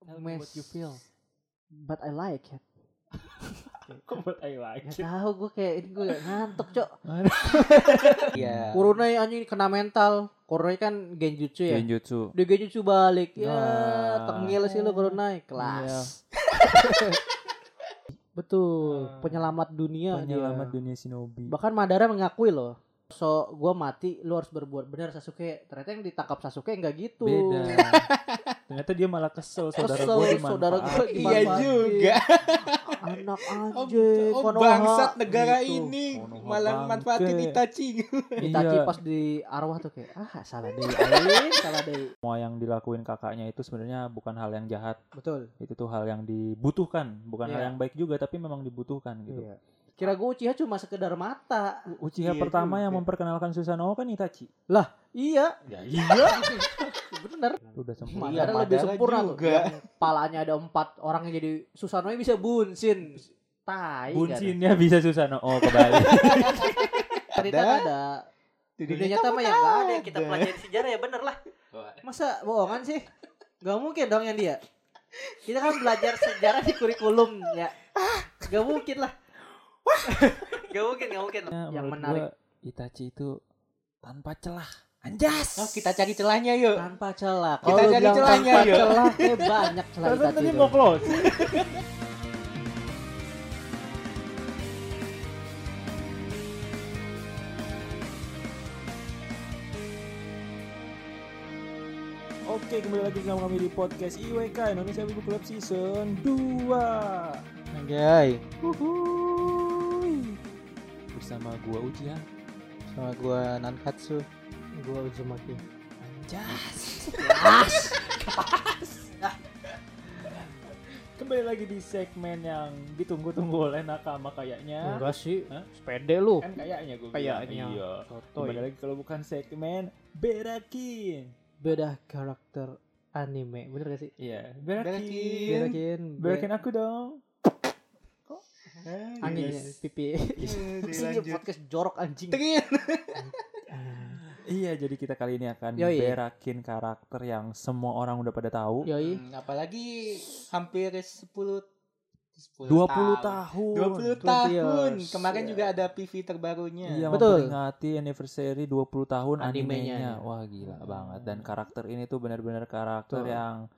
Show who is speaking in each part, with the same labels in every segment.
Speaker 1: What
Speaker 2: What
Speaker 1: you feel?
Speaker 2: But I like it.
Speaker 1: Kok buat I like
Speaker 2: Gak tau gue kayak ini gue ngantuk cok.
Speaker 3: Iya.
Speaker 2: Kurunai anjing kena mental. Kurunai kan genjutsu ya.
Speaker 3: Genjutsu.
Speaker 2: Dia genjutsu balik. Ya
Speaker 3: Nah.
Speaker 2: tengil sih lu kurunai. Kelas. Betul.
Speaker 1: Nah.
Speaker 2: Penyelamat dunia
Speaker 3: Penyelamat
Speaker 2: dia.
Speaker 3: dunia shinobi.
Speaker 2: Bahkan Madara mengakui loh. So gue mati lu harus berbuat benar Sasuke. Ternyata yang ditangkap Sasuke nggak gitu.
Speaker 3: Beda. Ternyata dia malah kesel saudara
Speaker 2: Kesel,
Speaker 3: gue
Speaker 2: saudara gua
Speaker 3: dimanfaatin.
Speaker 2: dimanfaatin.
Speaker 3: Iya
Speaker 2: Bang-
Speaker 1: juga.
Speaker 2: Anak
Speaker 1: Oh,
Speaker 2: anjing.
Speaker 1: oh,
Speaker 2: Konoha.
Speaker 1: bangsat negara
Speaker 3: Gitu.
Speaker 1: ini
Speaker 3: Konoha
Speaker 1: malah
Speaker 3: bangke.
Speaker 1: manfaatin Itachi.
Speaker 2: Itachi
Speaker 3: Iya.
Speaker 2: pas di arwah tuh kayak ah salah deh Ain, salah deh
Speaker 3: Semua yang dilakuin kakaknya itu sebenarnya bukan hal yang jahat.
Speaker 2: betul
Speaker 3: Itu tuh hal yang dibutuhkan, bukan hal
Speaker 2: Iya.
Speaker 3: yang baik juga tapi memang dibutuhkan gitu.
Speaker 2: Iya. kira gue Uchiha cuma sekedar mata
Speaker 3: U- Uchiha
Speaker 1: Iya
Speaker 3: pertama
Speaker 1: juga.
Speaker 3: yang memperkenalkan Susanoo kan Itachi.
Speaker 2: iya
Speaker 3: Ya,
Speaker 1: Iya.
Speaker 2: bener
Speaker 3: Udah sempurna.
Speaker 1: Iya,
Speaker 2: Madara lebih
Speaker 1: Madara
Speaker 2: sempurna tuh
Speaker 1: juga.
Speaker 2: yang palanya ada empat orang yang jadi Susanoo bisa bunsin tai
Speaker 3: Bunsinnya bisa Susanoo Oh, kebalik.
Speaker 2: kan cerita ada, ada.
Speaker 1: Jadi
Speaker 2: dunia nyata mah yang gak ada yang kita pelajari sejarah ya bener lah masa bohongan sih Gak mungkin dong yang dia kita kan belajar sejarah di kurikulum ya Gak mungkin lah Gak mungkin, gak mungkin Yang
Speaker 3: Menurut
Speaker 2: menarik
Speaker 3: gua, Itachi itu tanpa celah. Anjas.
Speaker 1: Oh, kita cari celahnya yuk.
Speaker 2: tanpa celah.
Speaker 1: Kita
Speaker 2: Kalau lu
Speaker 1: cari
Speaker 2: bilang
Speaker 1: celahnya,
Speaker 2: tanpa
Speaker 1: yuk.
Speaker 2: celah, eh banyak celah
Speaker 3: Tapi
Speaker 2: kita
Speaker 3: tadi
Speaker 2: tidur.
Speaker 3: mau close. Oke, kembali lagi bersama kami di podcast IWK Indonesia Wibu Club Season 2.
Speaker 1: Anjay.
Speaker 3: Wuhuy. Bersama gua Ujian.
Speaker 1: Sama gua Nankatsu.
Speaker 2: Gua Uzumaki.
Speaker 3: Jas. Kembali lagi di segmen yang ditunggu-tunggu oleh nakama kayaknya.
Speaker 2: Enggak sih.
Speaker 3: Hah?
Speaker 2: Sepede lu.
Speaker 3: Kan kayaknya gue
Speaker 2: Kayaknya.
Speaker 3: Iya.
Speaker 2: Sotoy.
Speaker 3: Kembali lagi kalau bukan segmen Berakin.
Speaker 2: Beda karakter anime. Bener gak sih?
Speaker 3: Iya,
Speaker 1: Berakin.
Speaker 3: Berakin.
Speaker 2: Berakin.
Speaker 3: Berakin aku dong.
Speaker 2: Angin ya, pipi.
Speaker 1: Eh,
Speaker 2: Sini podcast jorok anjing. Ah.
Speaker 3: Iya, jadi kita kali ini akan
Speaker 2: Yoi.
Speaker 3: berakin karakter yang semua orang udah pada tahu.
Speaker 2: Yoi.
Speaker 1: Hmm, apalagi hampir 10 10
Speaker 3: 20 tahun.
Speaker 2: tahun.
Speaker 1: 20 tahun.
Speaker 2: 20 years.
Speaker 1: Kemarin juga ada PV terbarunya.
Speaker 3: Iya,
Speaker 2: Betul.
Speaker 3: memperingati anniversary 20 tahun
Speaker 2: Animenya.
Speaker 3: animenya. Wah, gila
Speaker 1: Hmm.
Speaker 3: banget. Dan karakter ini tuh benar-benar karakter
Speaker 2: Betul.
Speaker 3: yang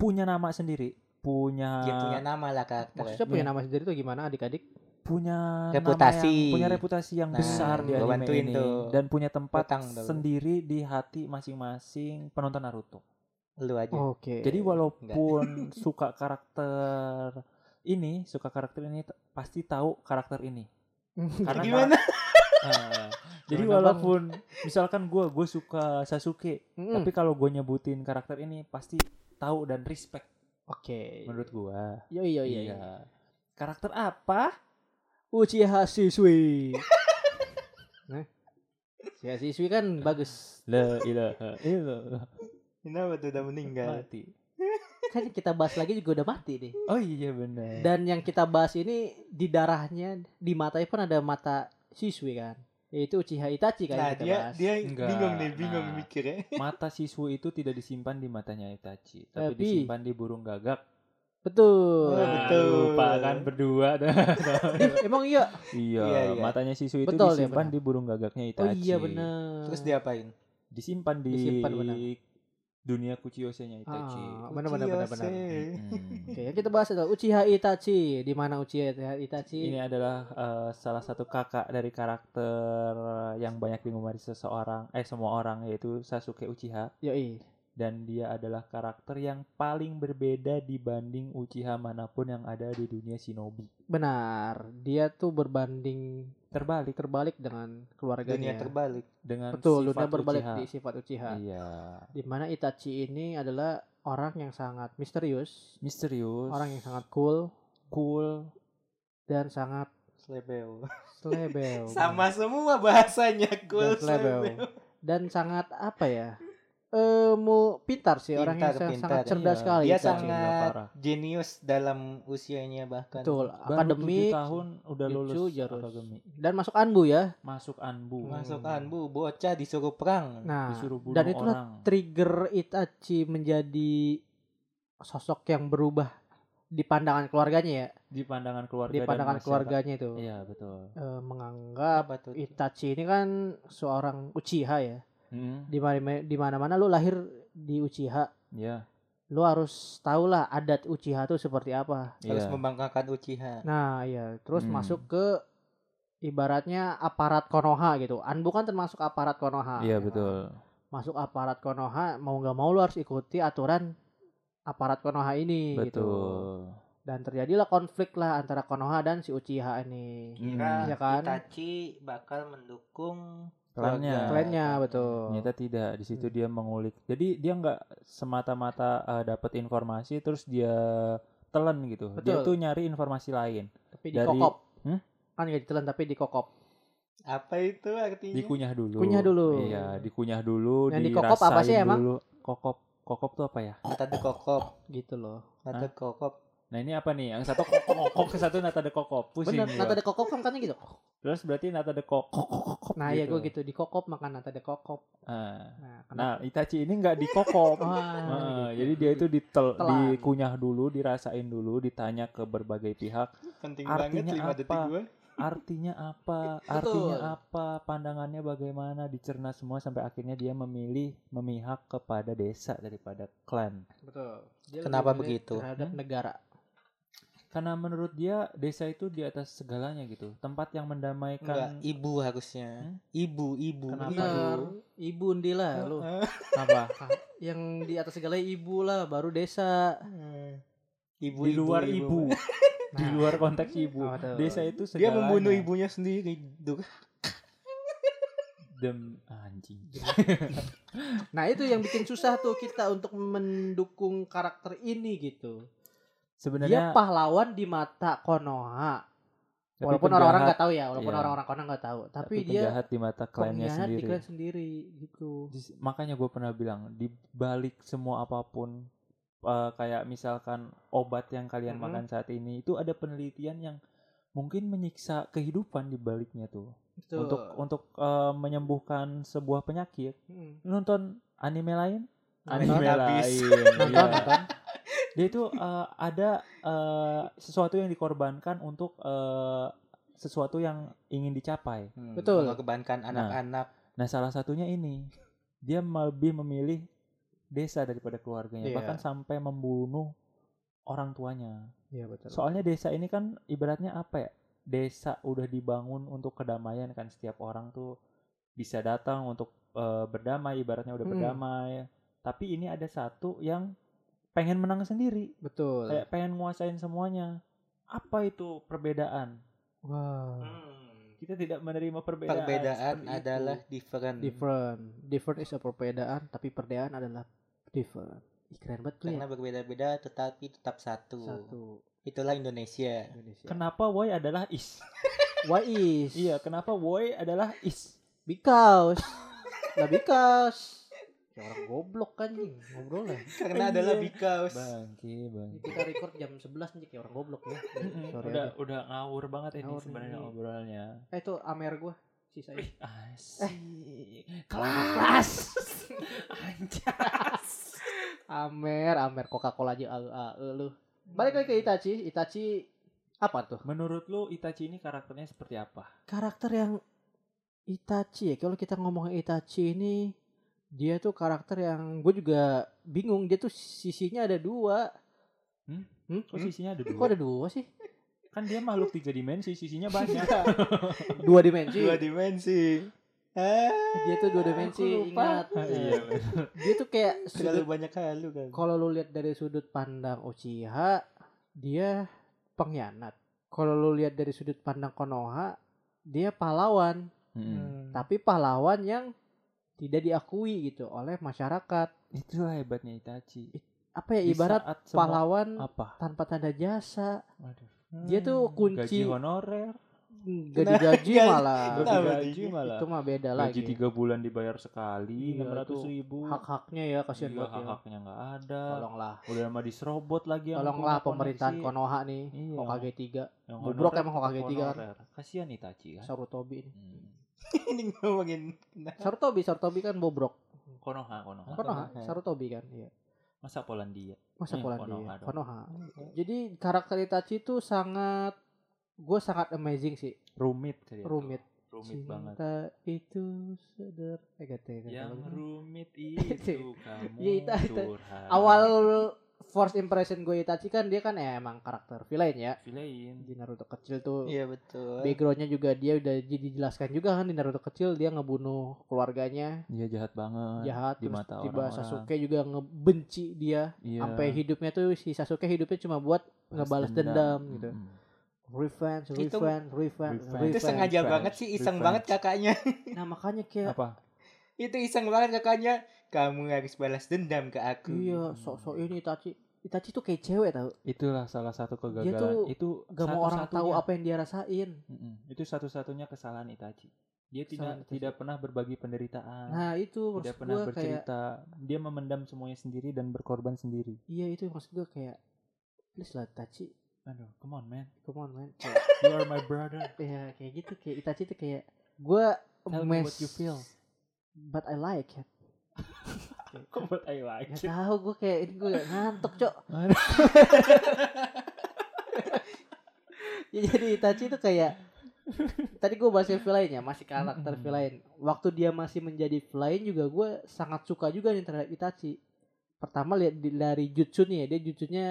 Speaker 3: punya nama sendiri, punya
Speaker 1: Dia punya nama lah karakter.
Speaker 2: Maksudnya punya nama sendiri tuh gimana adik-adik?
Speaker 3: punya nama
Speaker 1: Reputasi.
Speaker 3: yang- punya reputasi yang
Speaker 1: Nah,
Speaker 3: besar di anime
Speaker 1: gua bantuin
Speaker 3: ini
Speaker 1: tuh.
Speaker 3: dan punya tempat
Speaker 1: Utang dulu.
Speaker 3: sendiri di hati masing-masing penonton Naruto.
Speaker 1: Lu aja.
Speaker 3: Oh,
Speaker 2: Oke.
Speaker 3: Iya. Jadi walaupun suka karakter ini, suka karakter ini t- pasti tahu karakter ini. Karena
Speaker 1: Gimana?
Speaker 3: Ah, jadi
Speaker 2: Gimana, Bang?
Speaker 3: walaupun misalkan gue gue suka Sasuke,
Speaker 2: Mm-mm.
Speaker 3: tapi kalau gue nyebutin karakter ini pasti tahu dan respect
Speaker 2: Oke.
Speaker 3: menurut gue.
Speaker 2: Yoi yoi yoi.
Speaker 3: Iya. Karakter apa?
Speaker 2: Uchiha Shisui. Nah. Uchiha Shisui kan bagus.
Speaker 3: La ilaha illallah.
Speaker 1: Kenapa tuh udah meninggal?
Speaker 3: Mati.
Speaker 2: Kan kita bahas lagi juga udah mati deh.
Speaker 3: Oh iya benar.
Speaker 2: Dan yang kita bahas ini di darahnya, di matanya pun ada mata siswi kan. Yaitu Uchiha Itachi kan
Speaker 1: Nah,
Speaker 2: yang kita
Speaker 1: dia
Speaker 2: bahas.
Speaker 1: dia
Speaker 3: Iya, Enggak,
Speaker 1: bingung nih, bingung
Speaker 3: nah.
Speaker 1: mikirnya.
Speaker 3: Mata siswa itu tidak disimpan di matanya Itachi, tapi,
Speaker 2: Tapi- Ah,
Speaker 3: disimpan di burung gagak.
Speaker 2: Betul.
Speaker 1: Oh,
Speaker 3: Nah,
Speaker 1: betul.
Speaker 3: Lupa kan berdua dah.
Speaker 2: Ih, emang iya.
Speaker 3: iya,
Speaker 1: Iya, iya.
Speaker 3: matanya siswa itu
Speaker 2: Betul, ya,
Speaker 3: disimpan
Speaker 2: benar.
Speaker 3: di burung gagaknya
Speaker 2: Oh
Speaker 3: Itachi.
Speaker 2: iya benar.
Speaker 3: Nah.
Speaker 1: Terus diapain?
Speaker 3: Disimpan di
Speaker 2: Disimpan, benar.
Speaker 3: dunia kuchiyose-nya Itachi.
Speaker 2: Ah, benar benar benar benar.
Speaker 1: Kiyose.
Speaker 3: Mm-mm.
Speaker 2: Oke, yang kita bahas adalah Uchiha Itachi. Di mana Uchiha Itachi?
Speaker 1: Iya.
Speaker 3: Ini adalah eh, salah satu kakak dari karakter yang banyak digemari seseorang, eh semua orang yaitu Sasuke Uchiha
Speaker 2: Yoi.
Speaker 3: dan dia adalah karakter yang paling berbeda dibanding Uchiha manapun yang ada di dunia shinobi.
Speaker 2: Benar. Dia tuh berbanding
Speaker 3: Terbalik
Speaker 2: terbalik dengan
Speaker 1: Dunia
Speaker 2: keluarganya.
Speaker 1: terbalik.
Speaker 3: dengan
Speaker 2: Betul,
Speaker 3: sifat
Speaker 2: dunia berbalik
Speaker 3: Uchiha.
Speaker 2: di sifat Uchiha.
Speaker 3: Iya.
Speaker 2: Di mana Itachi ini adalah orang yang sangat misterius,
Speaker 3: Misterius.
Speaker 2: orang yang sangat cool
Speaker 3: cool.
Speaker 2: dan sangat
Speaker 1: Slebeo.
Speaker 2: Slebel.
Speaker 1: Sama semua bahasanya
Speaker 2: dan
Speaker 1: cool
Speaker 2: slebel.
Speaker 1: slebeo.
Speaker 2: Dan sangat apa ya? Eh mau pintar sih orang yang
Speaker 1: Pintar,
Speaker 2: sangat,
Speaker 1: pintar,
Speaker 2: sangat cerdas
Speaker 3: iya.
Speaker 2: sekali.
Speaker 1: Dia
Speaker 2: Itachi.
Speaker 3: parah.
Speaker 1: sangat jenius dalam usianya bahkan.
Speaker 2: betul
Speaker 3: Baru
Speaker 2: akademik
Speaker 3: 7 tahun udah
Speaker 2: Jutsu,
Speaker 3: lulus
Speaker 2: Jarus.
Speaker 3: akademi.
Speaker 2: dan masuk Anbu ya.
Speaker 3: Masuk anbu.
Speaker 1: Masukan bu, bocah disuruh perang.
Speaker 2: Nah,
Speaker 3: Disuruh bunuh
Speaker 2: dan itulah
Speaker 3: orang.
Speaker 2: trigger Itachi menjadi sosok yang berubah di pandangan keluarganya ya,
Speaker 3: di pandangan keluarga
Speaker 2: di
Speaker 3: dan
Speaker 2: pandangan
Speaker 3: masyarakat.
Speaker 2: keluarganya itu.
Speaker 3: iya betul
Speaker 2: Eh, menganggap
Speaker 1: Apa tuh?
Speaker 2: Itachi ini kan seorang Uchiha ya.
Speaker 3: Mm,
Speaker 2: Di mana di mana-mana lu lahir di Uchiha,
Speaker 3: iya
Speaker 2: lu harus tahu lah adat Uchiha itu seperti apa.
Speaker 1: Harus
Speaker 3: iya.
Speaker 1: membanggakan Uchiha.
Speaker 2: Nah, iya, terus
Speaker 3: Hmm.
Speaker 2: masuk ke ibaratnya aparat Konoha gitu. Anbu kan termasuk aparat Konoha. ya
Speaker 3: iya
Speaker 2: kan?
Speaker 3: betul
Speaker 2: Masuk aparat Konoha, mau nggak mau lu harus ikuti aturan aparat Konoha ini gitu.
Speaker 3: betul
Speaker 2: dan terjadilah konflik lah antara Konoha dan si Uchiha ini.
Speaker 3: Hmm.
Speaker 1: Kira
Speaker 2: Iya kan?
Speaker 1: Nah, Itachi bakal mendukung
Speaker 3: Klannya.
Speaker 1: keluarga.
Speaker 2: Klaimnya betul.
Speaker 3: ternyata tidak di situ
Speaker 2: Hmm.
Speaker 3: dia mengulik jadi dia nggak semata-mata eh, dapat informasi terus dia telan gitu dia
Speaker 2: Betul.
Speaker 3: tuh nyari informasi lain
Speaker 2: Tapi
Speaker 3: dari-
Speaker 2: dikokop.
Speaker 3: Hmm?
Speaker 2: Kan gak ditelan tapi dikokop.
Speaker 1: Apa itu artinya?
Speaker 3: dikunyah dulu
Speaker 2: Kunyah Iya. dulu.
Speaker 3: iya dikunyah dulu
Speaker 2: Yang dikokop apa sih
Speaker 3: dirasain
Speaker 2: emang?
Speaker 3: dulu. kokop kokop tuh apa ya
Speaker 1: Nata de kokop.
Speaker 2: Gitu loh.
Speaker 1: Nata de kokop.
Speaker 3: nah ini apa nih yang satu kokok kokok yang satu nata de kokop pusing
Speaker 2: Bener,
Speaker 3: gua.
Speaker 2: nata dikokop kan katanya gitu.
Speaker 3: terus berarti nata de kokok kokok
Speaker 2: Nah ya gue gitu, dikokop makan nata dikokop.
Speaker 3: Ah.
Speaker 2: Nah, kenapa?
Speaker 3: Nah, Itachi ini nggak dikokop.
Speaker 2: Wah,
Speaker 3: Ah,
Speaker 2: gitu.
Speaker 3: Jadi dia itu ditel,
Speaker 2: Telan.
Speaker 3: dikunyah dulu, dirasain dulu, ditanya ke berbagai pihak,
Speaker 1: Penting
Speaker 3: Artinya
Speaker 1: banget 5
Speaker 3: apa?
Speaker 1: detik
Speaker 2: Kan-
Speaker 1: gue.
Speaker 3: artinya apa, artinya apa, pandangannya bagaimana, dicerna semua sampai akhirnya dia memilih memihak kepada desa daripada klan.
Speaker 2: Betul. Dia
Speaker 1: Kenapa
Speaker 2: lebih milik
Speaker 1: begitu?
Speaker 2: Terhadap
Speaker 3: Hmm?
Speaker 2: negara.
Speaker 3: Karena menurut dia desa itu di atas segalanya gitu, tempat yang
Speaker 1: Enggak,
Speaker 3: mendamaikan
Speaker 1: ibu harusnya.
Speaker 3: Hmm?
Speaker 1: Ibu, ibu.
Speaker 3: Kenapa
Speaker 1: ibu.
Speaker 2: Bener. Nah, Ibu ndi lah lu.
Speaker 1: Heeh.
Speaker 3: apa?
Speaker 2: Yang di atas segala ibu lah, baru desa.
Speaker 1: Ibu,
Speaker 3: Di luar ibu, di
Speaker 2: Nah,
Speaker 3: luar konteks ibu.
Speaker 2: betul.
Speaker 3: Desa itu
Speaker 1: Dia
Speaker 3: segalanya.
Speaker 1: membunuh ibunya sendiri. Duh,
Speaker 3: Dem anjing.
Speaker 2: Nah itu yang bikin susah tuh kita untuk mendukung karakter ini gitu. Dia
Speaker 3: Sebenarnya
Speaker 2: pahlawan di mata Konoha.
Speaker 3: tapi
Speaker 2: walaupun orang-orang
Speaker 3: penjahat-
Speaker 2: nggak tahu ya walaupun
Speaker 3: iya.
Speaker 2: orang-orang konon nggak tahu tapi,
Speaker 3: tapi
Speaker 2: dia
Speaker 3: penjahat di mata kliennya
Speaker 2: pengkhianat di
Speaker 3: sendiri.
Speaker 2: klan sendiri gitu
Speaker 3: Dis- makanya gue pernah bilang di balik semua apapun eh, kayak misalkan obat yang kalian
Speaker 2: Mhm.
Speaker 3: makan saat ini itu ada penelitian yang mungkin menyiksa kehidupan di baliknya tuh
Speaker 2: Betul.
Speaker 3: untuk untuk eh, menyembuhkan sebuah penyakit
Speaker 2: Mm.
Speaker 3: nonton anime lain
Speaker 2: Nonton.
Speaker 3: anime lain
Speaker 1: Habis.
Speaker 2: nonton
Speaker 3: iya.
Speaker 2: nonton
Speaker 3: dia itu eh, ada eh, sesuatu yang dikorbankan untuk eh, sesuatu yang ingin dicapai
Speaker 1: Hmm,
Speaker 2: Betul.
Speaker 1: Mengorbankan anak-anak.
Speaker 3: Nah, salah satunya ini. Dia lebih memilih desa daripada keluarganya,
Speaker 2: Iya.
Speaker 3: bahkan sampai membunuh orang tuanya.
Speaker 2: iya betul
Speaker 3: Soalnya desa ini kan ibaratnya apa ya? Desa udah dibangun untuk kedamaian kan setiap orang tuh bisa datang untuk eh, berdamai, ibaratnya udah
Speaker 2: Hmm.
Speaker 3: berdamai. Tapi ini ada satu yang pengen menang sendiri,
Speaker 2: betul
Speaker 3: kayak pengen nguasain semuanya. Apa itu perbedaan?
Speaker 2: wah
Speaker 3: Hmm.
Speaker 1: Hmm,
Speaker 3: Kita tidak menerima perbedaan.
Speaker 1: Perbedaan
Speaker 3: seperti itu.
Speaker 1: adalah different.
Speaker 2: different different is a perbedaan tapi perbedaan adalah different Ih, keren banget tuh ya.
Speaker 1: Karena berbeda-beda tetapi tetap satu.
Speaker 2: satu
Speaker 1: Itulah Indonesia.
Speaker 2: Indonesia
Speaker 3: Kenapa woi adalah is?
Speaker 2: why is
Speaker 3: Iya, kenapa boy adalah is?
Speaker 2: because lah because ya orang goblok kan ngobrolnya
Speaker 1: Karena adalah because.
Speaker 2: Ini
Speaker 3: Bangki, bangki.
Speaker 2: kita record jam 11 nih kayak orang goblok ya sorry
Speaker 3: udah
Speaker 2: aja.
Speaker 3: udah ngawur iya. banget ini
Speaker 2: Ngawur
Speaker 3: sebenarnya
Speaker 2: nih.
Speaker 3: obrolannya.
Speaker 2: eh itu amer gue sisanya Eh.
Speaker 3: Asik. Kelas. Anjas.
Speaker 2: Amer, Amer Coca-Cola aja au, au, lu. Balik lagi ke Itachi, Itachi apa tuh?
Speaker 3: Menurut lu Itachi ini karakternya seperti apa?
Speaker 2: Karakter yang Itachi ya, kalau kita ngomong Itachi ini dia tuh karakter yang gue juga bingung dia tuh sisinya ada dua.
Speaker 3: Hmm?
Speaker 2: Hmm?
Speaker 3: Kok
Speaker 2: Hmm?
Speaker 3: sisinya ada
Speaker 2: Kok
Speaker 3: dua?
Speaker 2: ada dua sih?
Speaker 3: Kan dia makhluk tiga dimensi, sisinya banyak.
Speaker 2: Dua dimensi.
Speaker 1: Dua dimensi. Ah,
Speaker 2: Dia tuh dua dimensi,
Speaker 1: aku lupa.
Speaker 2: ingat.
Speaker 3: Iya. gitu.
Speaker 2: Dia tuh kayak
Speaker 1: Terlalu
Speaker 2: sudut,
Speaker 1: banyak halu kan.
Speaker 2: kalau lu lihat dari sudut pandang Uchiha, dia pengkhianat. Kalau lu lihat dari sudut pandang Konoha, dia pahlawan.
Speaker 3: Hmm.
Speaker 2: tapi pahlawan yang tidak diakui gitu oleh masyarakat.
Speaker 3: Itulah hebatnya Itachi.
Speaker 2: Apa ya Mm.
Speaker 3: Di
Speaker 2: ibarat
Speaker 3: saat semua- Oh.
Speaker 2: pahlawan
Speaker 3: apa?
Speaker 2: tanpa tanda jasa.
Speaker 3: Waduh. Hmm,
Speaker 2: Dia tuh
Speaker 3: Gaji
Speaker 2: kunci
Speaker 3: honorer,
Speaker 2: nggak
Speaker 1: Nah,
Speaker 2: digaji
Speaker 1: gaji-
Speaker 2: malah.
Speaker 1: Nah,
Speaker 3: gaji, gaji
Speaker 1: gaji.
Speaker 3: malah.
Speaker 2: Itu mah beda
Speaker 3: Gaji
Speaker 2: lagi.
Speaker 3: tiga bulan dibayar sekali,
Speaker 2: Iya,
Speaker 3: enam ratus
Speaker 2: tuh.
Speaker 3: ribu.
Speaker 2: Hak-haknya ya kasihan
Speaker 3: Iya,
Speaker 2: banget. ya.
Speaker 3: hak-haknya nggak ada.
Speaker 2: Tolonglah.
Speaker 3: Udah sama diserobot lagi yang
Speaker 2: Tolonglah
Speaker 3: punya
Speaker 2: pemerintahan
Speaker 3: koneksi.
Speaker 2: Konoha nih.
Speaker 3: Iya.
Speaker 2: Hokage 3.
Speaker 3: Yang
Speaker 2: Bobrok
Speaker 3: honorer
Speaker 2: emang Hokage
Speaker 3: tetep
Speaker 2: tiga kan.
Speaker 3: honorer. Kasihan Itachi kan.
Speaker 2: Sarutobi ini.
Speaker 3: Hmm.
Speaker 1: Ini ngomongin. Nah,
Speaker 2: Sarutobi, Sarutobi kan bobrok.
Speaker 3: Konoha, Konoha.
Speaker 1: Kon-
Speaker 2: Konoha,
Speaker 1: Konoha.
Speaker 2: Sarutobi kan. Iya.
Speaker 3: Masa Polandia.
Speaker 2: Oh, sekolah
Speaker 3: Iya, Konoha
Speaker 2: dia.
Speaker 3: dong.
Speaker 2: Konoha. Jadi karakter Itachi itu sangat gue sangat amazing sih,
Speaker 3: rumit cerita.
Speaker 2: rumit.
Speaker 3: Iya, rumit banget
Speaker 2: Cinta itu seder eh gak tega
Speaker 3: yang
Speaker 2: kalau-
Speaker 3: rumit itu kamu
Speaker 2: Iya, itu- itu.
Speaker 3: curhat
Speaker 2: Awal first impression gue Itachi kan dia kan ya emang karakter villain ya.
Speaker 3: Villain.
Speaker 2: Di Naruto kecil tuh
Speaker 1: Iya betul.
Speaker 2: backgroundnya juga dia udah di- dijelaskan juga kan di Naruto kecil dia ngebunuh keluarganya
Speaker 3: dia Iya, jahat banget
Speaker 2: jahat
Speaker 3: Nah, di
Speaker 2: terus
Speaker 3: mata
Speaker 2: tiba
Speaker 3: orang-orang
Speaker 2: Sasuke juga ngebenci dia
Speaker 3: Iya,
Speaker 2: sampai hidupnya tuh si Sasuke hidupnya cuma buat
Speaker 3: balas hmm.
Speaker 2: ngebales dendam, gitu
Speaker 3: Mm-mm.
Speaker 2: revenge
Speaker 1: Itu-
Speaker 2: revenge revenge
Speaker 3: Itu
Speaker 1: itu
Speaker 2: revenge
Speaker 1: sengaja
Speaker 3: Revenge,
Speaker 1: banget sih, iseng
Speaker 3: revenge.
Speaker 1: banget kakaknya.
Speaker 2: nah makanya kayak
Speaker 3: apa
Speaker 1: itu iseng banget kakaknya. Kamu harus balas dendam ke aku.
Speaker 2: iya sok-sok ini Itachi Itachi tuh kayak cewek tau
Speaker 3: itulah salah satu kegagalan
Speaker 2: tuh
Speaker 3: itu
Speaker 2: gak mau orang tahu
Speaker 3: satu-satunya-
Speaker 2: apa yang dia rasain
Speaker 3: Mm-mm. itu satu-satunya kesalahan Itachi
Speaker 2: Kesalahan
Speaker 3: dia tidak
Speaker 2: Itachi.
Speaker 3: tidak pernah berbagi penderitaan
Speaker 2: nah itu maksud
Speaker 3: tidak pernah
Speaker 2: gue kayak
Speaker 3: bercerita dia memendam semuanya sendiri dan berkorban sendiri
Speaker 2: iya itu maksud gue kayak please lah Itachi
Speaker 3: aduh come on man
Speaker 2: come on man Kayak-
Speaker 3: you are my brother
Speaker 2: ya kayak gitu kayak Itachi tuh kayak gue
Speaker 3: Tell me what you feel.
Speaker 2: but I like it
Speaker 3: What I like
Speaker 2: Gak tahu gue kayak ini gue ngantuk cok.
Speaker 3: Aduh.
Speaker 2: Ya, jadi Itachi itu kayak tadi gue bahasnya villain ya masih karakter
Speaker 3: Mm-mm.
Speaker 2: villain. Waktu dia masih menjadi villain juga gue sangat suka juga nih terhadap Itachi. Pertama lihat di- dari jutsu nih ya dia jutsunya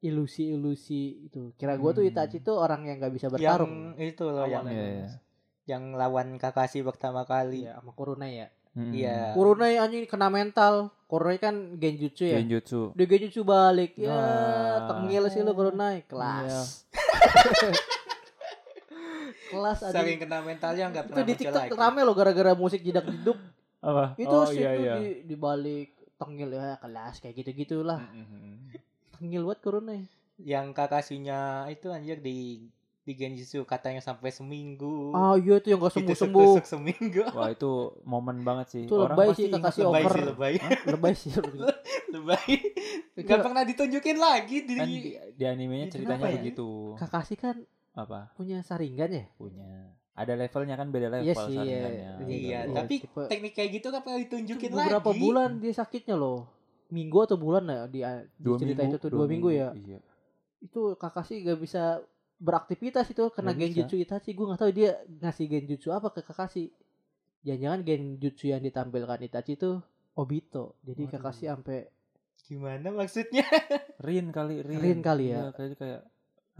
Speaker 2: ilusi-ilusi itu. Kira gue tuh
Speaker 3: Hmm.
Speaker 2: Itachi tuh orang yang gak bisa
Speaker 1: Yang
Speaker 2: bertarung.
Speaker 1: itu loh yang
Speaker 2: Awalnya.
Speaker 1: yang lawan Kakashi pertama kali.
Speaker 2: Iya sama Kurunai ya.
Speaker 3: Mm-mm.
Speaker 1: Iya.
Speaker 2: Kurunai anjing kena mental. Kurunai kan genjutsu ya.
Speaker 3: Genjutsu
Speaker 2: Dia genjutsu balik. Ya,
Speaker 3: Nah.
Speaker 2: tengil sih lu Kurunai kelas. kelas ada
Speaker 1: Saking kena mentalnya nggak
Speaker 2: itu
Speaker 1: pernah kan?
Speaker 2: di
Speaker 1: muncul
Speaker 2: TikTok
Speaker 1: lagi.
Speaker 2: rame loh gara-gara musik jedak jeduk
Speaker 3: apa
Speaker 2: itu
Speaker 3: oh,
Speaker 2: sih
Speaker 3: iya,
Speaker 2: tuh
Speaker 3: iya.
Speaker 2: di, di balik tengil ya kelas kayak gitu
Speaker 3: Hmm,
Speaker 2: gitulah
Speaker 3: Mm-mm.
Speaker 2: tengil ya. buat kurunai
Speaker 1: Yang Kakashinya itu anjir di di Genjutsu katanya sampai seminggu.
Speaker 2: ah iya tuh yang gak sembuh sembuh
Speaker 1: Ditusuk-tusuk seminggu.
Speaker 3: Wah itu momen banget sih.
Speaker 2: Itu lebay sih,
Speaker 3: ingat
Speaker 2: Kakashi
Speaker 1: Lebay
Speaker 3: lebay
Speaker 2: over.
Speaker 1: sih
Speaker 3: sih.
Speaker 1: lebay.
Speaker 2: lebay sih menurut gue.
Speaker 1: lebay.
Speaker 2: Itu
Speaker 1: Gak pernah ditunjukin lagi di
Speaker 3: Kan di, di animenya
Speaker 1: Ini
Speaker 3: ceritanya
Speaker 1: kenapa ya?
Speaker 3: begitu.
Speaker 2: Kakashi kan
Speaker 3: Apa?
Speaker 2: punya saringan ya
Speaker 3: Punya. Ada levelnya kan beda level
Speaker 2: Iya sih, iya.
Speaker 3: saringannya.
Speaker 1: Iya,
Speaker 3: Gitu.
Speaker 2: Iya,
Speaker 1: tapi
Speaker 2: tipe-
Speaker 1: teknik kayak gitu gak pernah
Speaker 2: Itu
Speaker 1: ditunjukin lagi.
Speaker 2: beberapa bulan dia sakitnya loh minggu atau bulan ya di, di cerita itu tuh dua, minggu, ya
Speaker 3: Iya.
Speaker 2: itu Kakashi gak bisa beraktivitas itu karena
Speaker 3: Nggak bisa.
Speaker 2: genjutsu Itachi gue nggak tahu dia ngasih genjutsu apa ke Kakashi jangan-jangan genjutsu yang ditampilkan Itachi itu Obito jadi
Speaker 1: Waduh.
Speaker 2: Kakashi sampai
Speaker 1: Gimana maksudnya?
Speaker 3: Rin kali Rin.
Speaker 2: Rin kali ya.
Speaker 3: Iya, kayaknya kayak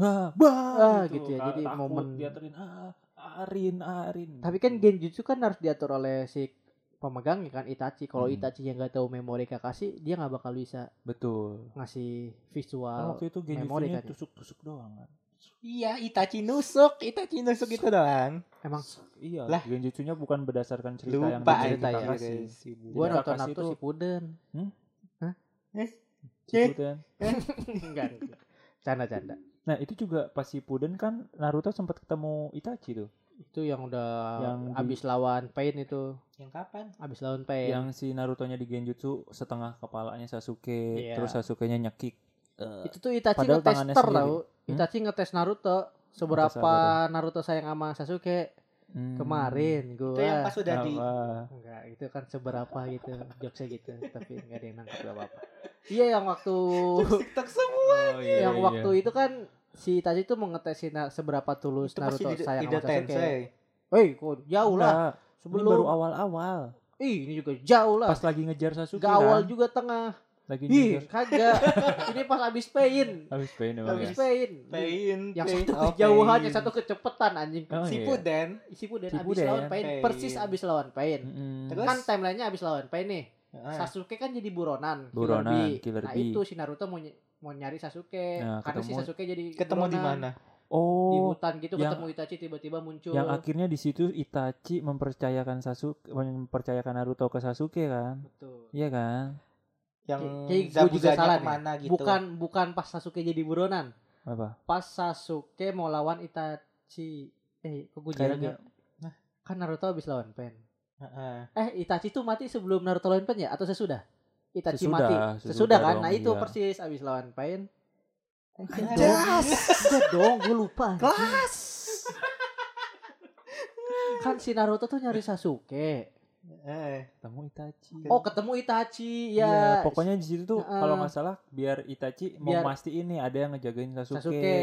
Speaker 3: ah, bah,
Speaker 2: Ah, gitu ya.
Speaker 3: Ka-
Speaker 2: Jadi
Speaker 3: takut
Speaker 2: momen-
Speaker 3: dia Rin ah, ah, Rin ah, Rin.
Speaker 2: tapi kan genjutsu kan harus diatur oleh si pemegang kan Itachi kalau
Speaker 3: Hmm.
Speaker 2: Itachi yang nggak tahu memori Kakashi dia nggak bakal bisa
Speaker 3: betul.
Speaker 2: ngasih
Speaker 3: Kan
Speaker 2: visual
Speaker 3: waktu itu
Speaker 2: memori
Speaker 3: Genjutsunya
Speaker 2: kan ya.
Speaker 3: tusuk-tusuk doang kan.
Speaker 1: Iya, Itachi nusuk, Itachi nusuk itu doang.
Speaker 2: emang
Speaker 3: Iya,
Speaker 1: Lah.
Speaker 3: Genjutsunya bukan berdasarkan cerita yang
Speaker 1: Lupa
Speaker 2: di
Speaker 3: dimiliki
Speaker 1: cerita
Speaker 2: cerita ya.
Speaker 1: ya.
Speaker 3: Kakashi.
Speaker 2: gue
Speaker 3: Jadi
Speaker 2: nonton
Speaker 3: Kakashi
Speaker 2: Naruto
Speaker 3: tuh-
Speaker 2: si Puden
Speaker 1: Eh.
Speaker 3: Gitu kan.
Speaker 2: enggak enggak. canda-canda
Speaker 3: Nah, itu juga pas si Puden kan Naruto sempat ketemu Itachi tuh.
Speaker 2: itu yang udah
Speaker 3: Yang di-
Speaker 2: abis lawan Pain itu
Speaker 1: Yang kapan?
Speaker 2: abis lawan Pain
Speaker 3: yang si Naruto-nya di Genjutsu setengah kepalanya Sasuke,
Speaker 2: Iya.
Speaker 3: terus Sasuke-nya nyekik. eh,
Speaker 2: itu tuh Itachi
Speaker 3: Padahal
Speaker 2: ngetes
Speaker 3: tangannya
Speaker 2: ter
Speaker 3: sendiri.
Speaker 2: tau
Speaker 3: Hmm?
Speaker 2: Itachi ngetes Naruto seberapa
Speaker 3: apa
Speaker 2: Naruto sayang sama Sasuke
Speaker 3: Hmm. ah.
Speaker 2: kemarin
Speaker 1: Itu yang
Speaker 2: gua
Speaker 1: pas udah di
Speaker 3: Apa?
Speaker 2: enggak itu kan seberapa gitu jokesnya gitu tapi enggak ada yang nangkep gak apa-apa iya yang waktu
Speaker 1: TikTok semua.
Speaker 3: Oh, iya,
Speaker 2: yang
Speaker 3: iya.
Speaker 2: waktu itu kan si Itachi tuh mau ngetes si Na- seberapa tulus
Speaker 1: Itu pasti
Speaker 2: Naruto
Speaker 1: di
Speaker 2: sayang
Speaker 1: Ido
Speaker 2: sama Sasuke ya?
Speaker 1: Tensei.
Speaker 2: Woi, kok jauh lah.
Speaker 3: Enggak, ini
Speaker 2: Sebelum
Speaker 3: baru awal-awal.
Speaker 2: Ih, ini juga jauh lah.
Speaker 3: Pas lagi ngejar Sasuke
Speaker 2: Gak awal
Speaker 3: kan?
Speaker 2: juga tengah.
Speaker 3: Lagi
Speaker 2: Ih,
Speaker 3: ngejar.
Speaker 2: kagak. ini pas abis pain.
Speaker 3: Habis pain emang
Speaker 2: Abis
Speaker 3: ya.
Speaker 2: pain.
Speaker 1: Pain,
Speaker 2: Yang
Speaker 1: pain,
Speaker 2: satu
Speaker 1: oh,
Speaker 2: kejauhan,
Speaker 1: pain.
Speaker 2: yang satu kecepatan anjing.
Speaker 3: Oh,
Speaker 1: si
Speaker 3: iya.
Speaker 1: Puden.
Speaker 2: Isi Puden
Speaker 3: Si
Speaker 2: abis
Speaker 3: Puden.
Speaker 2: lawan Pain,
Speaker 1: Pain.
Speaker 2: persis abis lawan Pain.
Speaker 3: Mm-mm.
Speaker 1: Terus?
Speaker 2: Kan timelinenya abis lawan Pain nih.
Speaker 1: Ah,
Speaker 2: Sasuke kan jadi buronan. Killer
Speaker 3: Buronan,
Speaker 2: Bee.
Speaker 3: Killer
Speaker 2: Nah
Speaker 3: Bee.
Speaker 2: itu si Naruto mau ny- mau nyari Sasuke
Speaker 3: Nah,
Speaker 2: karena si
Speaker 3: ketemu-
Speaker 2: Sasuke jadi
Speaker 1: ketemu di
Speaker 2: buronan.
Speaker 1: mana?
Speaker 2: Di
Speaker 3: Oh,
Speaker 2: hutan gitu
Speaker 3: yang-
Speaker 2: ketemu Itachi tiba-tiba muncul.
Speaker 3: yang akhirnya di situ Itachi mempercayakan Sasuke, mempercayakan Naruto ke Sasuke kan?
Speaker 2: Betul.
Speaker 3: Iya kan?
Speaker 1: Yang
Speaker 2: Jadi gua juga salah
Speaker 1: Zabuzanya
Speaker 2: nih.
Speaker 1: kemana gitu.
Speaker 2: Bukan bukan pas Sasuke jadi buronan.
Speaker 3: Apa?
Speaker 2: Pas Sasuke mau lawan Itachi. Eh, kok gue jarang ya?
Speaker 3: Kayaknya
Speaker 2: Kan Naruto abis lawan Pain.
Speaker 1: Heeh.
Speaker 2: Eh, Itachi tuh mati sebelum Naruto lawan Pain ya atau sesudah? Itachi
Speaker 3: Sesudah,
Speaker 2: mati.
Speaker 3: sesudah
Speaker 2: Sesudah, kan?
Speaker 3: dong,
Speaker 2: nah, itu
Speaker 3: iya.
Speaker 2: persis abis lawan Pain. Eh, enggak
Speaker 1: Anjas.
Speaker 2: dong. Enggak dong, gue lupa. Kelas. kan si Naruto tuh nyari Sasuke.
Speaker 1: Eh,
Speaker 3: ketemu Itachi.
Speaker 2: Oh ketemu Itachi ya.
Speaker 3: Iya, pokoknya di situ tuh
Speaker 2: Heeh.
Speaker 3: kalau nggak salah biar Itachi
Speaker 2: Biar-
Speaker 3: mau mastiin nih ada yang ngejagain Sasuke.
Speaker 2: Sasuke.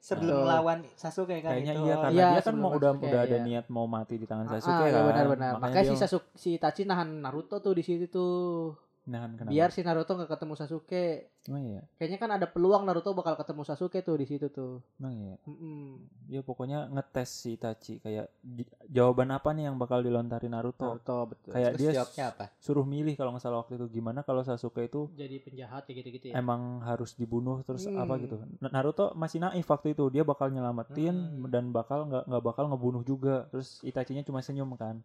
Speaker 1: sebelum
Speaker 2: Betul.
Speaker 1: lawan Sasuke kan
Speaker 3: Kayaknya
Speaker 1: itu.
Speaker 3: iya
Speaker 1: oh,
Speaker 3: karena
Speaker 2: Iya,
Speaker 3: dia kan mau
Speaker 2: sebelum
Speaker 3: udah
Speaker 2: Sasuke,
Speaker 3: udah ada
Speaker 2: iya.
Speaker 3: niat mau mati di tangan
Speaker 2: Ah,
Speaker 3: Sasuke
Speaker 2: ah,
Speaker 3: kan.
Speaker 2: iya benar-benar.
Speaker 3: Makanya,
Speaker 2: Makanya si
Speaker 3: dia
Speaker 2: Sasuke si Itachi nahan Naruto tuh di situ tuh.
Speaker 3: nahan kenapa?
Speaker 2: Biar si Naruto nggak ketemu Sasuke.
Speaker 3: Emang iya.
Speaker 2: Kayaknya kan ada peluang Naruto bakal ketemu Sasuke tuh di situ tuh.
Speaker 3: Emang iya.
Speaker 2: Mm-mm.
Speaker 3: Ya pokoknya ngetes si Itachi kayak di- jawaban apa nih yang bakal dilontarin Naruto.
Speaker 2: Naruto betul.
Speaker 3: Oh, Kayak
Speaker 1: terus
Speaker 3: dia
Speaker 1: jawabnya apa?
Speaker 3: suruh milih kalau nggak salah waktu itu gimana kalau Sasuke itu
Speaker 2: Jadi penjahat kayak gitu-gitu ya.
Speaker 3: emang harus dibunuh terus
Speaker 2: Hmm.
Speaker 3: apa gitu. Na- Naruto masih naif waktu itu dia bakal nyelamatin
Speaker 1: Hmm.
Speaker 3: dan bakal nggak nggak bakal ngebunuh juga. Terus Itachinya cuma senyum kan,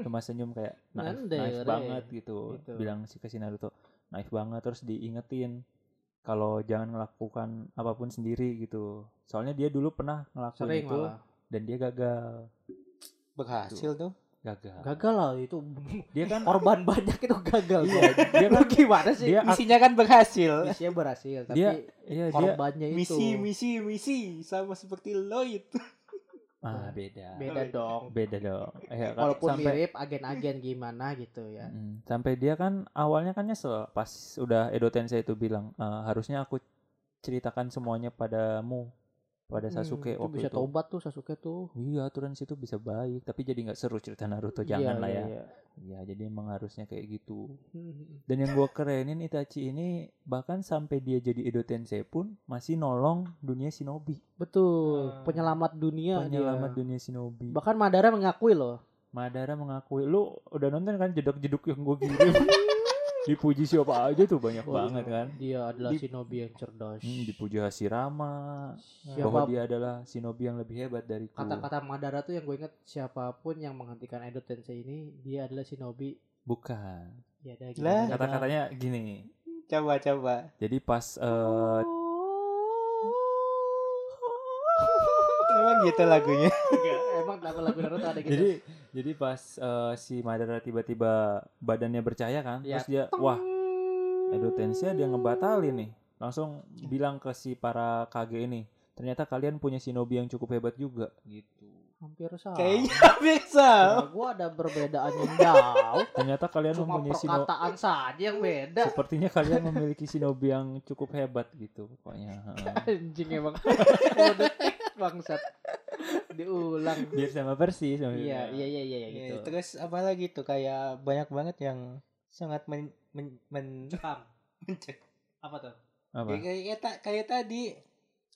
Speaker 3: cuma senyum kayak naif,
Speaker 2: Nandere.
Speaker 3: naif banget gitu.
Speaker 2: Gitu.
Speaker 3: Bilang si ke si Naruto naif banget terus diingetin kalau jangan melakukan apapun sendiri gitu. Soalnya dia dulu pernah ngelakuin
Speaker 2: Sering
Speaker 3: itu
Speaker 2: malah.
Speaker 3: dan dia gagal,
Speaker 1: Berhasil tuh.
Speaker 3: gagal.
Speaker 2: Gagal lah itu.
Speaker 3: Dia kan
Speaker 2: Korban banyak itu gagal.
Speaker 3: iya, dia
Speaker 2: Lu
Speaker 3: kan
Speaker 2: gimana sih?
Speaker 3: dia ak-
Speaker 1: Misinya kan berhasil.
Speaker 2: Misinya berhasil, tapi
Speaker 3: Dia- iya, dia
Speaker 2: korbannya itu.
Speaker 1: Misi, misi, misi sama seperti Lloyd.
Speaker 3: ah beda.
Speaker 2: Beda dong.
Speaker 3: Beda dong. Eh, kan
Speaker 2: Walaupun
Speaker 3: sampai-
Speaker 2: mirip agen-agen gimana gitu ya.
Speaker 3: Mm, sampai dia kan awalnya kan nyesel pas udah Edo Tensei itu bilang "Eh, harusnya aku ceritakan semuanya padamu pada Sasuke
Speaker 2: Hmm, itu
Speaker 3: waktu
Speaker 2: bisa
Speaker 3: itu.
Speaker 2: tobat tuh Sasuke tuh.
Speaker 3: Iya aturan situ bisa baik tapi jadi nggak seru cerita Naruto
Speaker 2: Iya,
Speaker 3: jangan lah
Speaker 2: iya,
Speaker 3: ya.
Speaker 2: iya.
Speaker 3: Iya jadi emang harusnya kayak gitu.
Speaker 2: Hmm.
Speaker 3: Dan yang gua kerenin Itachi ini bahkan sampai dia jadi Edo Tensei pun masih nolong dunia shinobi.
Speaker 2: Betul,
Speaker 1: Ah.
Speaker 2: penyelamat dunia
Speaker 3: Penyelamat
Speaker 2: Iya, dia.
Speaker 3: dunia shinobi.
Speaker 2: Bahkan Madara mengakui loh.
Speaker 3: Madara mengakui lu udah nonton kan jedok-jedok yang gua kirim. Dipuji siapa aja tuh banyak
Speaker 2: Oh,
Speaker 3: banget kan.
Speaker 2: Dia adalah
Speaker 3: Di-
Speaker 2: shinobi yang cerdas.
Speaker 3: Hmm, dipuji Hashirama bahwa
Speaker 2: Siapa
Speaker 3: dia adalah shinobi yang lebih hebat dariku.
Speaker 2: kata-kata Madara tuh yang gue inget siapapun yang menghentikan Edo Tensei ini dia adalah shinobi.
Speaker 3: Bukan.
Speaker 2: Ya ada
Speaker 3: Eh,
Speaker 1: Lah.
Speaker 2: gimana?
Speaker 3: Kata-katanya gini.
Speaker 1: Coba, coba.
Speaker 3: Jadi pas eh,
Speaker 1: Emang gitu lagunya.
Speaker 2: Emang kenapa lagu Naruto ada gitu?
Speaker 3: jadi jadi pas eh, si Madara tiba-tiba badannya bercahaya kan,
Speaker 2: Ya.
Speaker 3: terus dia wah Edo Tensei dia ngebatalin nih. Langsung bilang ke si para kage ini, ternyata kalian punya shinobi yang cukup hebat juga gitu.
Speaker 2: hampir sama.
Speaker 1: Kayaknya bisa.
Speaker 2: Nah, gue ada perbedaan yang jauh.
Speaker 3: Ternyata kalian
Speaker 2: Cuma
Speaker 3: mempunyai shinobi
Speaker 2: perkataan saja yang beda.
Speaker 3: Sepertinya kalian memiliki shinobi yang cukup hebat gitu pokoknya. heeh.
Speaker 2: Anjing emang. Bodoh, Bangsat. Diulang.
Speaker 3: Biar sama persis.
Speaker 2: Iya, iya, iya, iya, iya,
Speaker 1: Ya,
Speaker 2: gitu.
Speaker 1: Terus apa lagi tuh kayak banyak banget yang sangat men men, men
Speaker 2: Cekam.
Speaker 1: mencek.
Speaker 2: Apa tuh? Iya,
Speaker 1: Ya,
Speaker 3: Apa?
Speaker 1: kayak, kayak ta- kayak tadi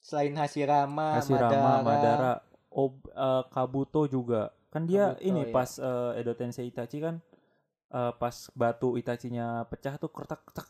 Speaker 1: selain Hashirama,
Speaker 3: Hashirama,
Speaker 1: Madara,
Speaker 3: Madara, Ob, eh, Kabuto juga. Kan dia
Speaker 2: Kabuto,
Speaker 3: ini
Speaker 2: iya.
Speaker 3: pas eh, Edo Tensei Itachi kan eh, pas batu Itachinya pecah tuh kertak kertak.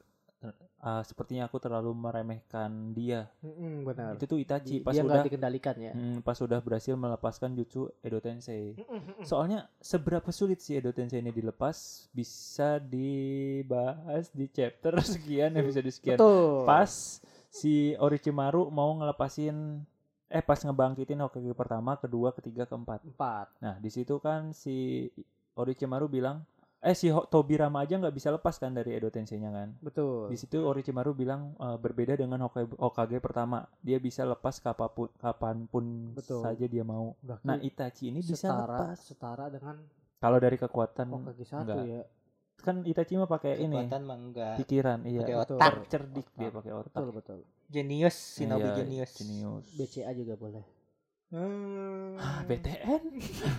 Speaker 3: Eh, sepertinya aku terlalu meremehkan dia.
Speaker 2: Mm-mm, Hmm, benar.
Speaker 3: Itu tuh Itachi
Speaker 2: Di-
Speaker 3: pas
Speaker 2: dia
Speaker 3: udah
Speaker 2: nggak dikendalikan ya.
Speaker 3: mm, pas udah berhasil melepaskan jutsu Edo Tensei.
Speaker 2: Mm-mm.
Speaker 3: Soalnya seberapa sulit sih Edo Tensei ini dilepas bisa dibahas di chapter sekian episode sekian.
Speaker 2: Betul.
Speaker 3: kan pas si Orochimaru mau ngelepasin eh pas ngebangkitin Hokage pertama, kedua, ketiga, keempat.
Speaker 2: empat.
Speaker 3: Nah, di situ kan si Orochimaru bilang, eh si Ho- Tobirama aja nggak bisa lepas kan dari Edo Tensei-nya kan.
Speaker 2: Betul.
Speaker 3: Di situ Orochimaru bilang "Eh, berbeda dengan Hokage, Hokage pertama, dia bisa lepas kapapun, kapanpun
Speaker 2: Betul.
Speaker 3: saja dia mau.
Speaker 2: Berarti
Speaker 3: Nah,
Speaker 1: Iya.
Speaker 3: Itachi ini bisa
Speaker 2: setara
Speaker 3: lepas.
Speaker 2: setara dengan
Speaker 3: Kalau dari kekuatan
Speaker 2: Hokage satu
Speaker 3: enggak.
Speaker 2: ya.
Speaker 3: kan Itachi mah pakai ini
Speaker 1: kekuatan mah enggak.
Speaker 3: pikiran,
Speaker 1: Pakai
Speaker 3: iya.
Speaker 2: Betul.
Speaker 1: otak.
Speaker 3: Cer- cerdik dia pakai otak.
Speaker 2: Betul, betul.
Speaker 1: Genius, Shinobi
Speaker 3: Iya,
Speaker 1: genius.
Speaker 3: Genius.
Speaker 2: BCA juga boleh.
Speaker 1: Hmm.
Speaker 3: Ah, BTN.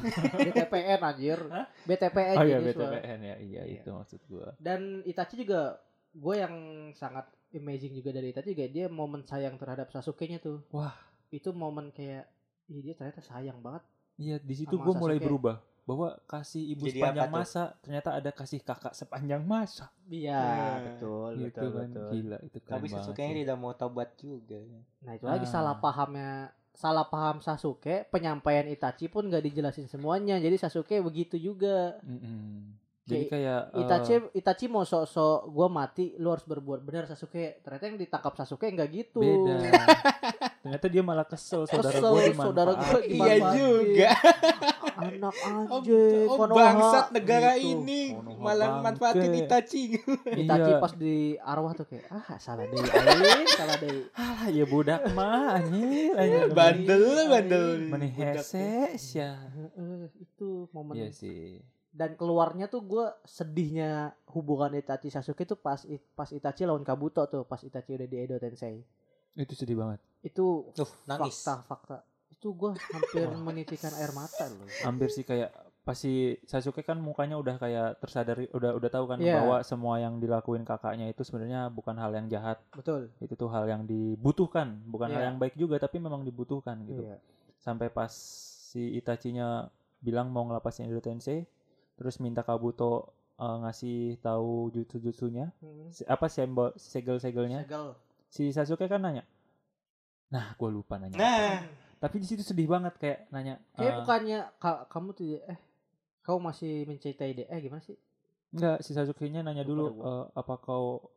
Speaker 2: BTPN anjir.
Speaker 3: Hah?
Speaker 1: Eh,
Speaker 2: BTPN
Speaker 3: Oh iya
Speaker 2: jadi suara.
Speaker 3: BTPN ya, iya
Speaker 2: Iya.
Speaker 3: itu maksud gua.
Speaker 2: Dan Itachi juga gue yang sangat amazing juga dari Itachi juga dia momen sayang terhadap Sasuke-nya tuh.
Speaker 3: Wah.
Speaker 2: Itu momen kayak Ih, dia ternyata sayang banget.
Speaker 3: Iya di situ
Speaker 2: Sama
Speaker 3: gua mulai
Speaker 2: Sasuke.
Speaker 3: berubah bahwa kasih ibu
Speaker 1: Jadi
Speaker 3: sepanjang
Speaker 1: apa tuh?
Speaker 3: masa ternyata ada kasih kakak sepanjang masa.
Speaker 2: Iya,
Speaker 1: Nah,
Speaker 2: betul,
Speaker 3: gitu
Speaker 2: betul,
Speaker 3: kan
Speaker 2: betul.
Speaker 3: gila itu keren
Speaker 1: Tapi
Speaker 3: banget.
Speaker 1: Sasuke nya tidak mau tobat juga.
Speaker 2: Nah, itu lagi
Speaker 3: Ah.
Speaker 2: salah pahamnya salah paham Sasuke, penyampaian Itachi pun gak dijelasin semuanya. Jadi Sasuke begitu juga.
Speaker 3: Mm-mm. Jadi kayak eh,
Speaker 2: Itachi Itachi mau sok-sok gua mati, lu harus berbuat benar Sasuke. Ternyata yang ditangkap Sasuke enggak gitu.
Speaker 3: beda. ternyata dia malah kesel saudara
Speaker 2: Kesel,
Speaker 3: gua
Speaker 2: saudara gua
Speaker 3: dimanfaatin.
Speaker 1: Iya
Speaker 2: Dimanfaatin.
Speaker 1: juga.
Speaker 2: Anak
Speaker 1: Oh,
Speaker 2: anjing.
Speaker 1: oh,
Speaker 2: Konoha.
Speaker 1: bangsat negara
Speaker 2: Gitu.
Speaker 1: ini
Speaker 3: Konoha
Speaker 1: malah
Speaker 3: bangke.
Speaker 1: manfaatin Itachi.
Speaker 2: Itachi
Speaker 3: Iya.
Speaker 2: pas di arwah tuh kayak ah salah deui aing, salah deui.
Speaker 3: Alah, ya budak mah anjir anjir.
Speaker 1: bandel,
Speaker 2: Iya,
Speaker 1: bandel.
Speaker 3: Meni
Speaker 1: Budak
Speaker 3: hese sia.
Speaker 2: Heeh, itu momen
Speaker 3: Iya sih.
Speaker 2: dan keluarnya tuh gue sedihnya hubungan Itachi Sasuke tuh pas pas Itachi lawan Kabuto tuh pas Itachi udah di Edo Tensei
Speaker 3: Itu sedih banget.
Speaker 2: itu
Speaker 1: Tuh, nangis.
Speaker 2: fakta fakta itu gue hampir menitikkan air mata loh
Speaker 3: Hampir sih kayak pasti Sasuke kan mukanya udah kayak tersadari udah udah tahu kan
Speaker 2: Iya.
Speaker 3: bahwa semua yang dilakuin kakaknya itu sebenarnya bukan hal yang jahat.
Speaker 2: betul
Speaker 3: Itu tuh hal yang dibutuhkan, bukan hal
Speaker 2: Iya.
Speaker 3: yang baik juga tapi memang dibutuhkan gitu.
Speaker 2: iya
Speaker 3: Sampai pas si Itachinya bilang mau ngelepasin Edo Tensei, terus minta Kabuto eh, ngasih tahu jutsu-jutsunya,
Speaker 2: Hmm.
Speaker 3: si- apa simbol segel-segelnya.
Speaker 2: Segel.
Speaker 3: si Sasuke kan nanya nah gue lupa nanya
Speaker 1: Nah,
Speaker 3: tapi di situ sedih banget kayak nanya
Speaker 2: kayak
Speaker 1: Ah.
Speaker 3: eh,
Speaker 2: bukannya ka- kamu tuh eh kau masih mencintai dia eh gimana sih
Speaker 3: enggak si Sasuke nya nanya
Speaker 2: Lupa
Speaker 3: dulu
Speaker 2: deh gua.
Speaker 3: eh, apa kau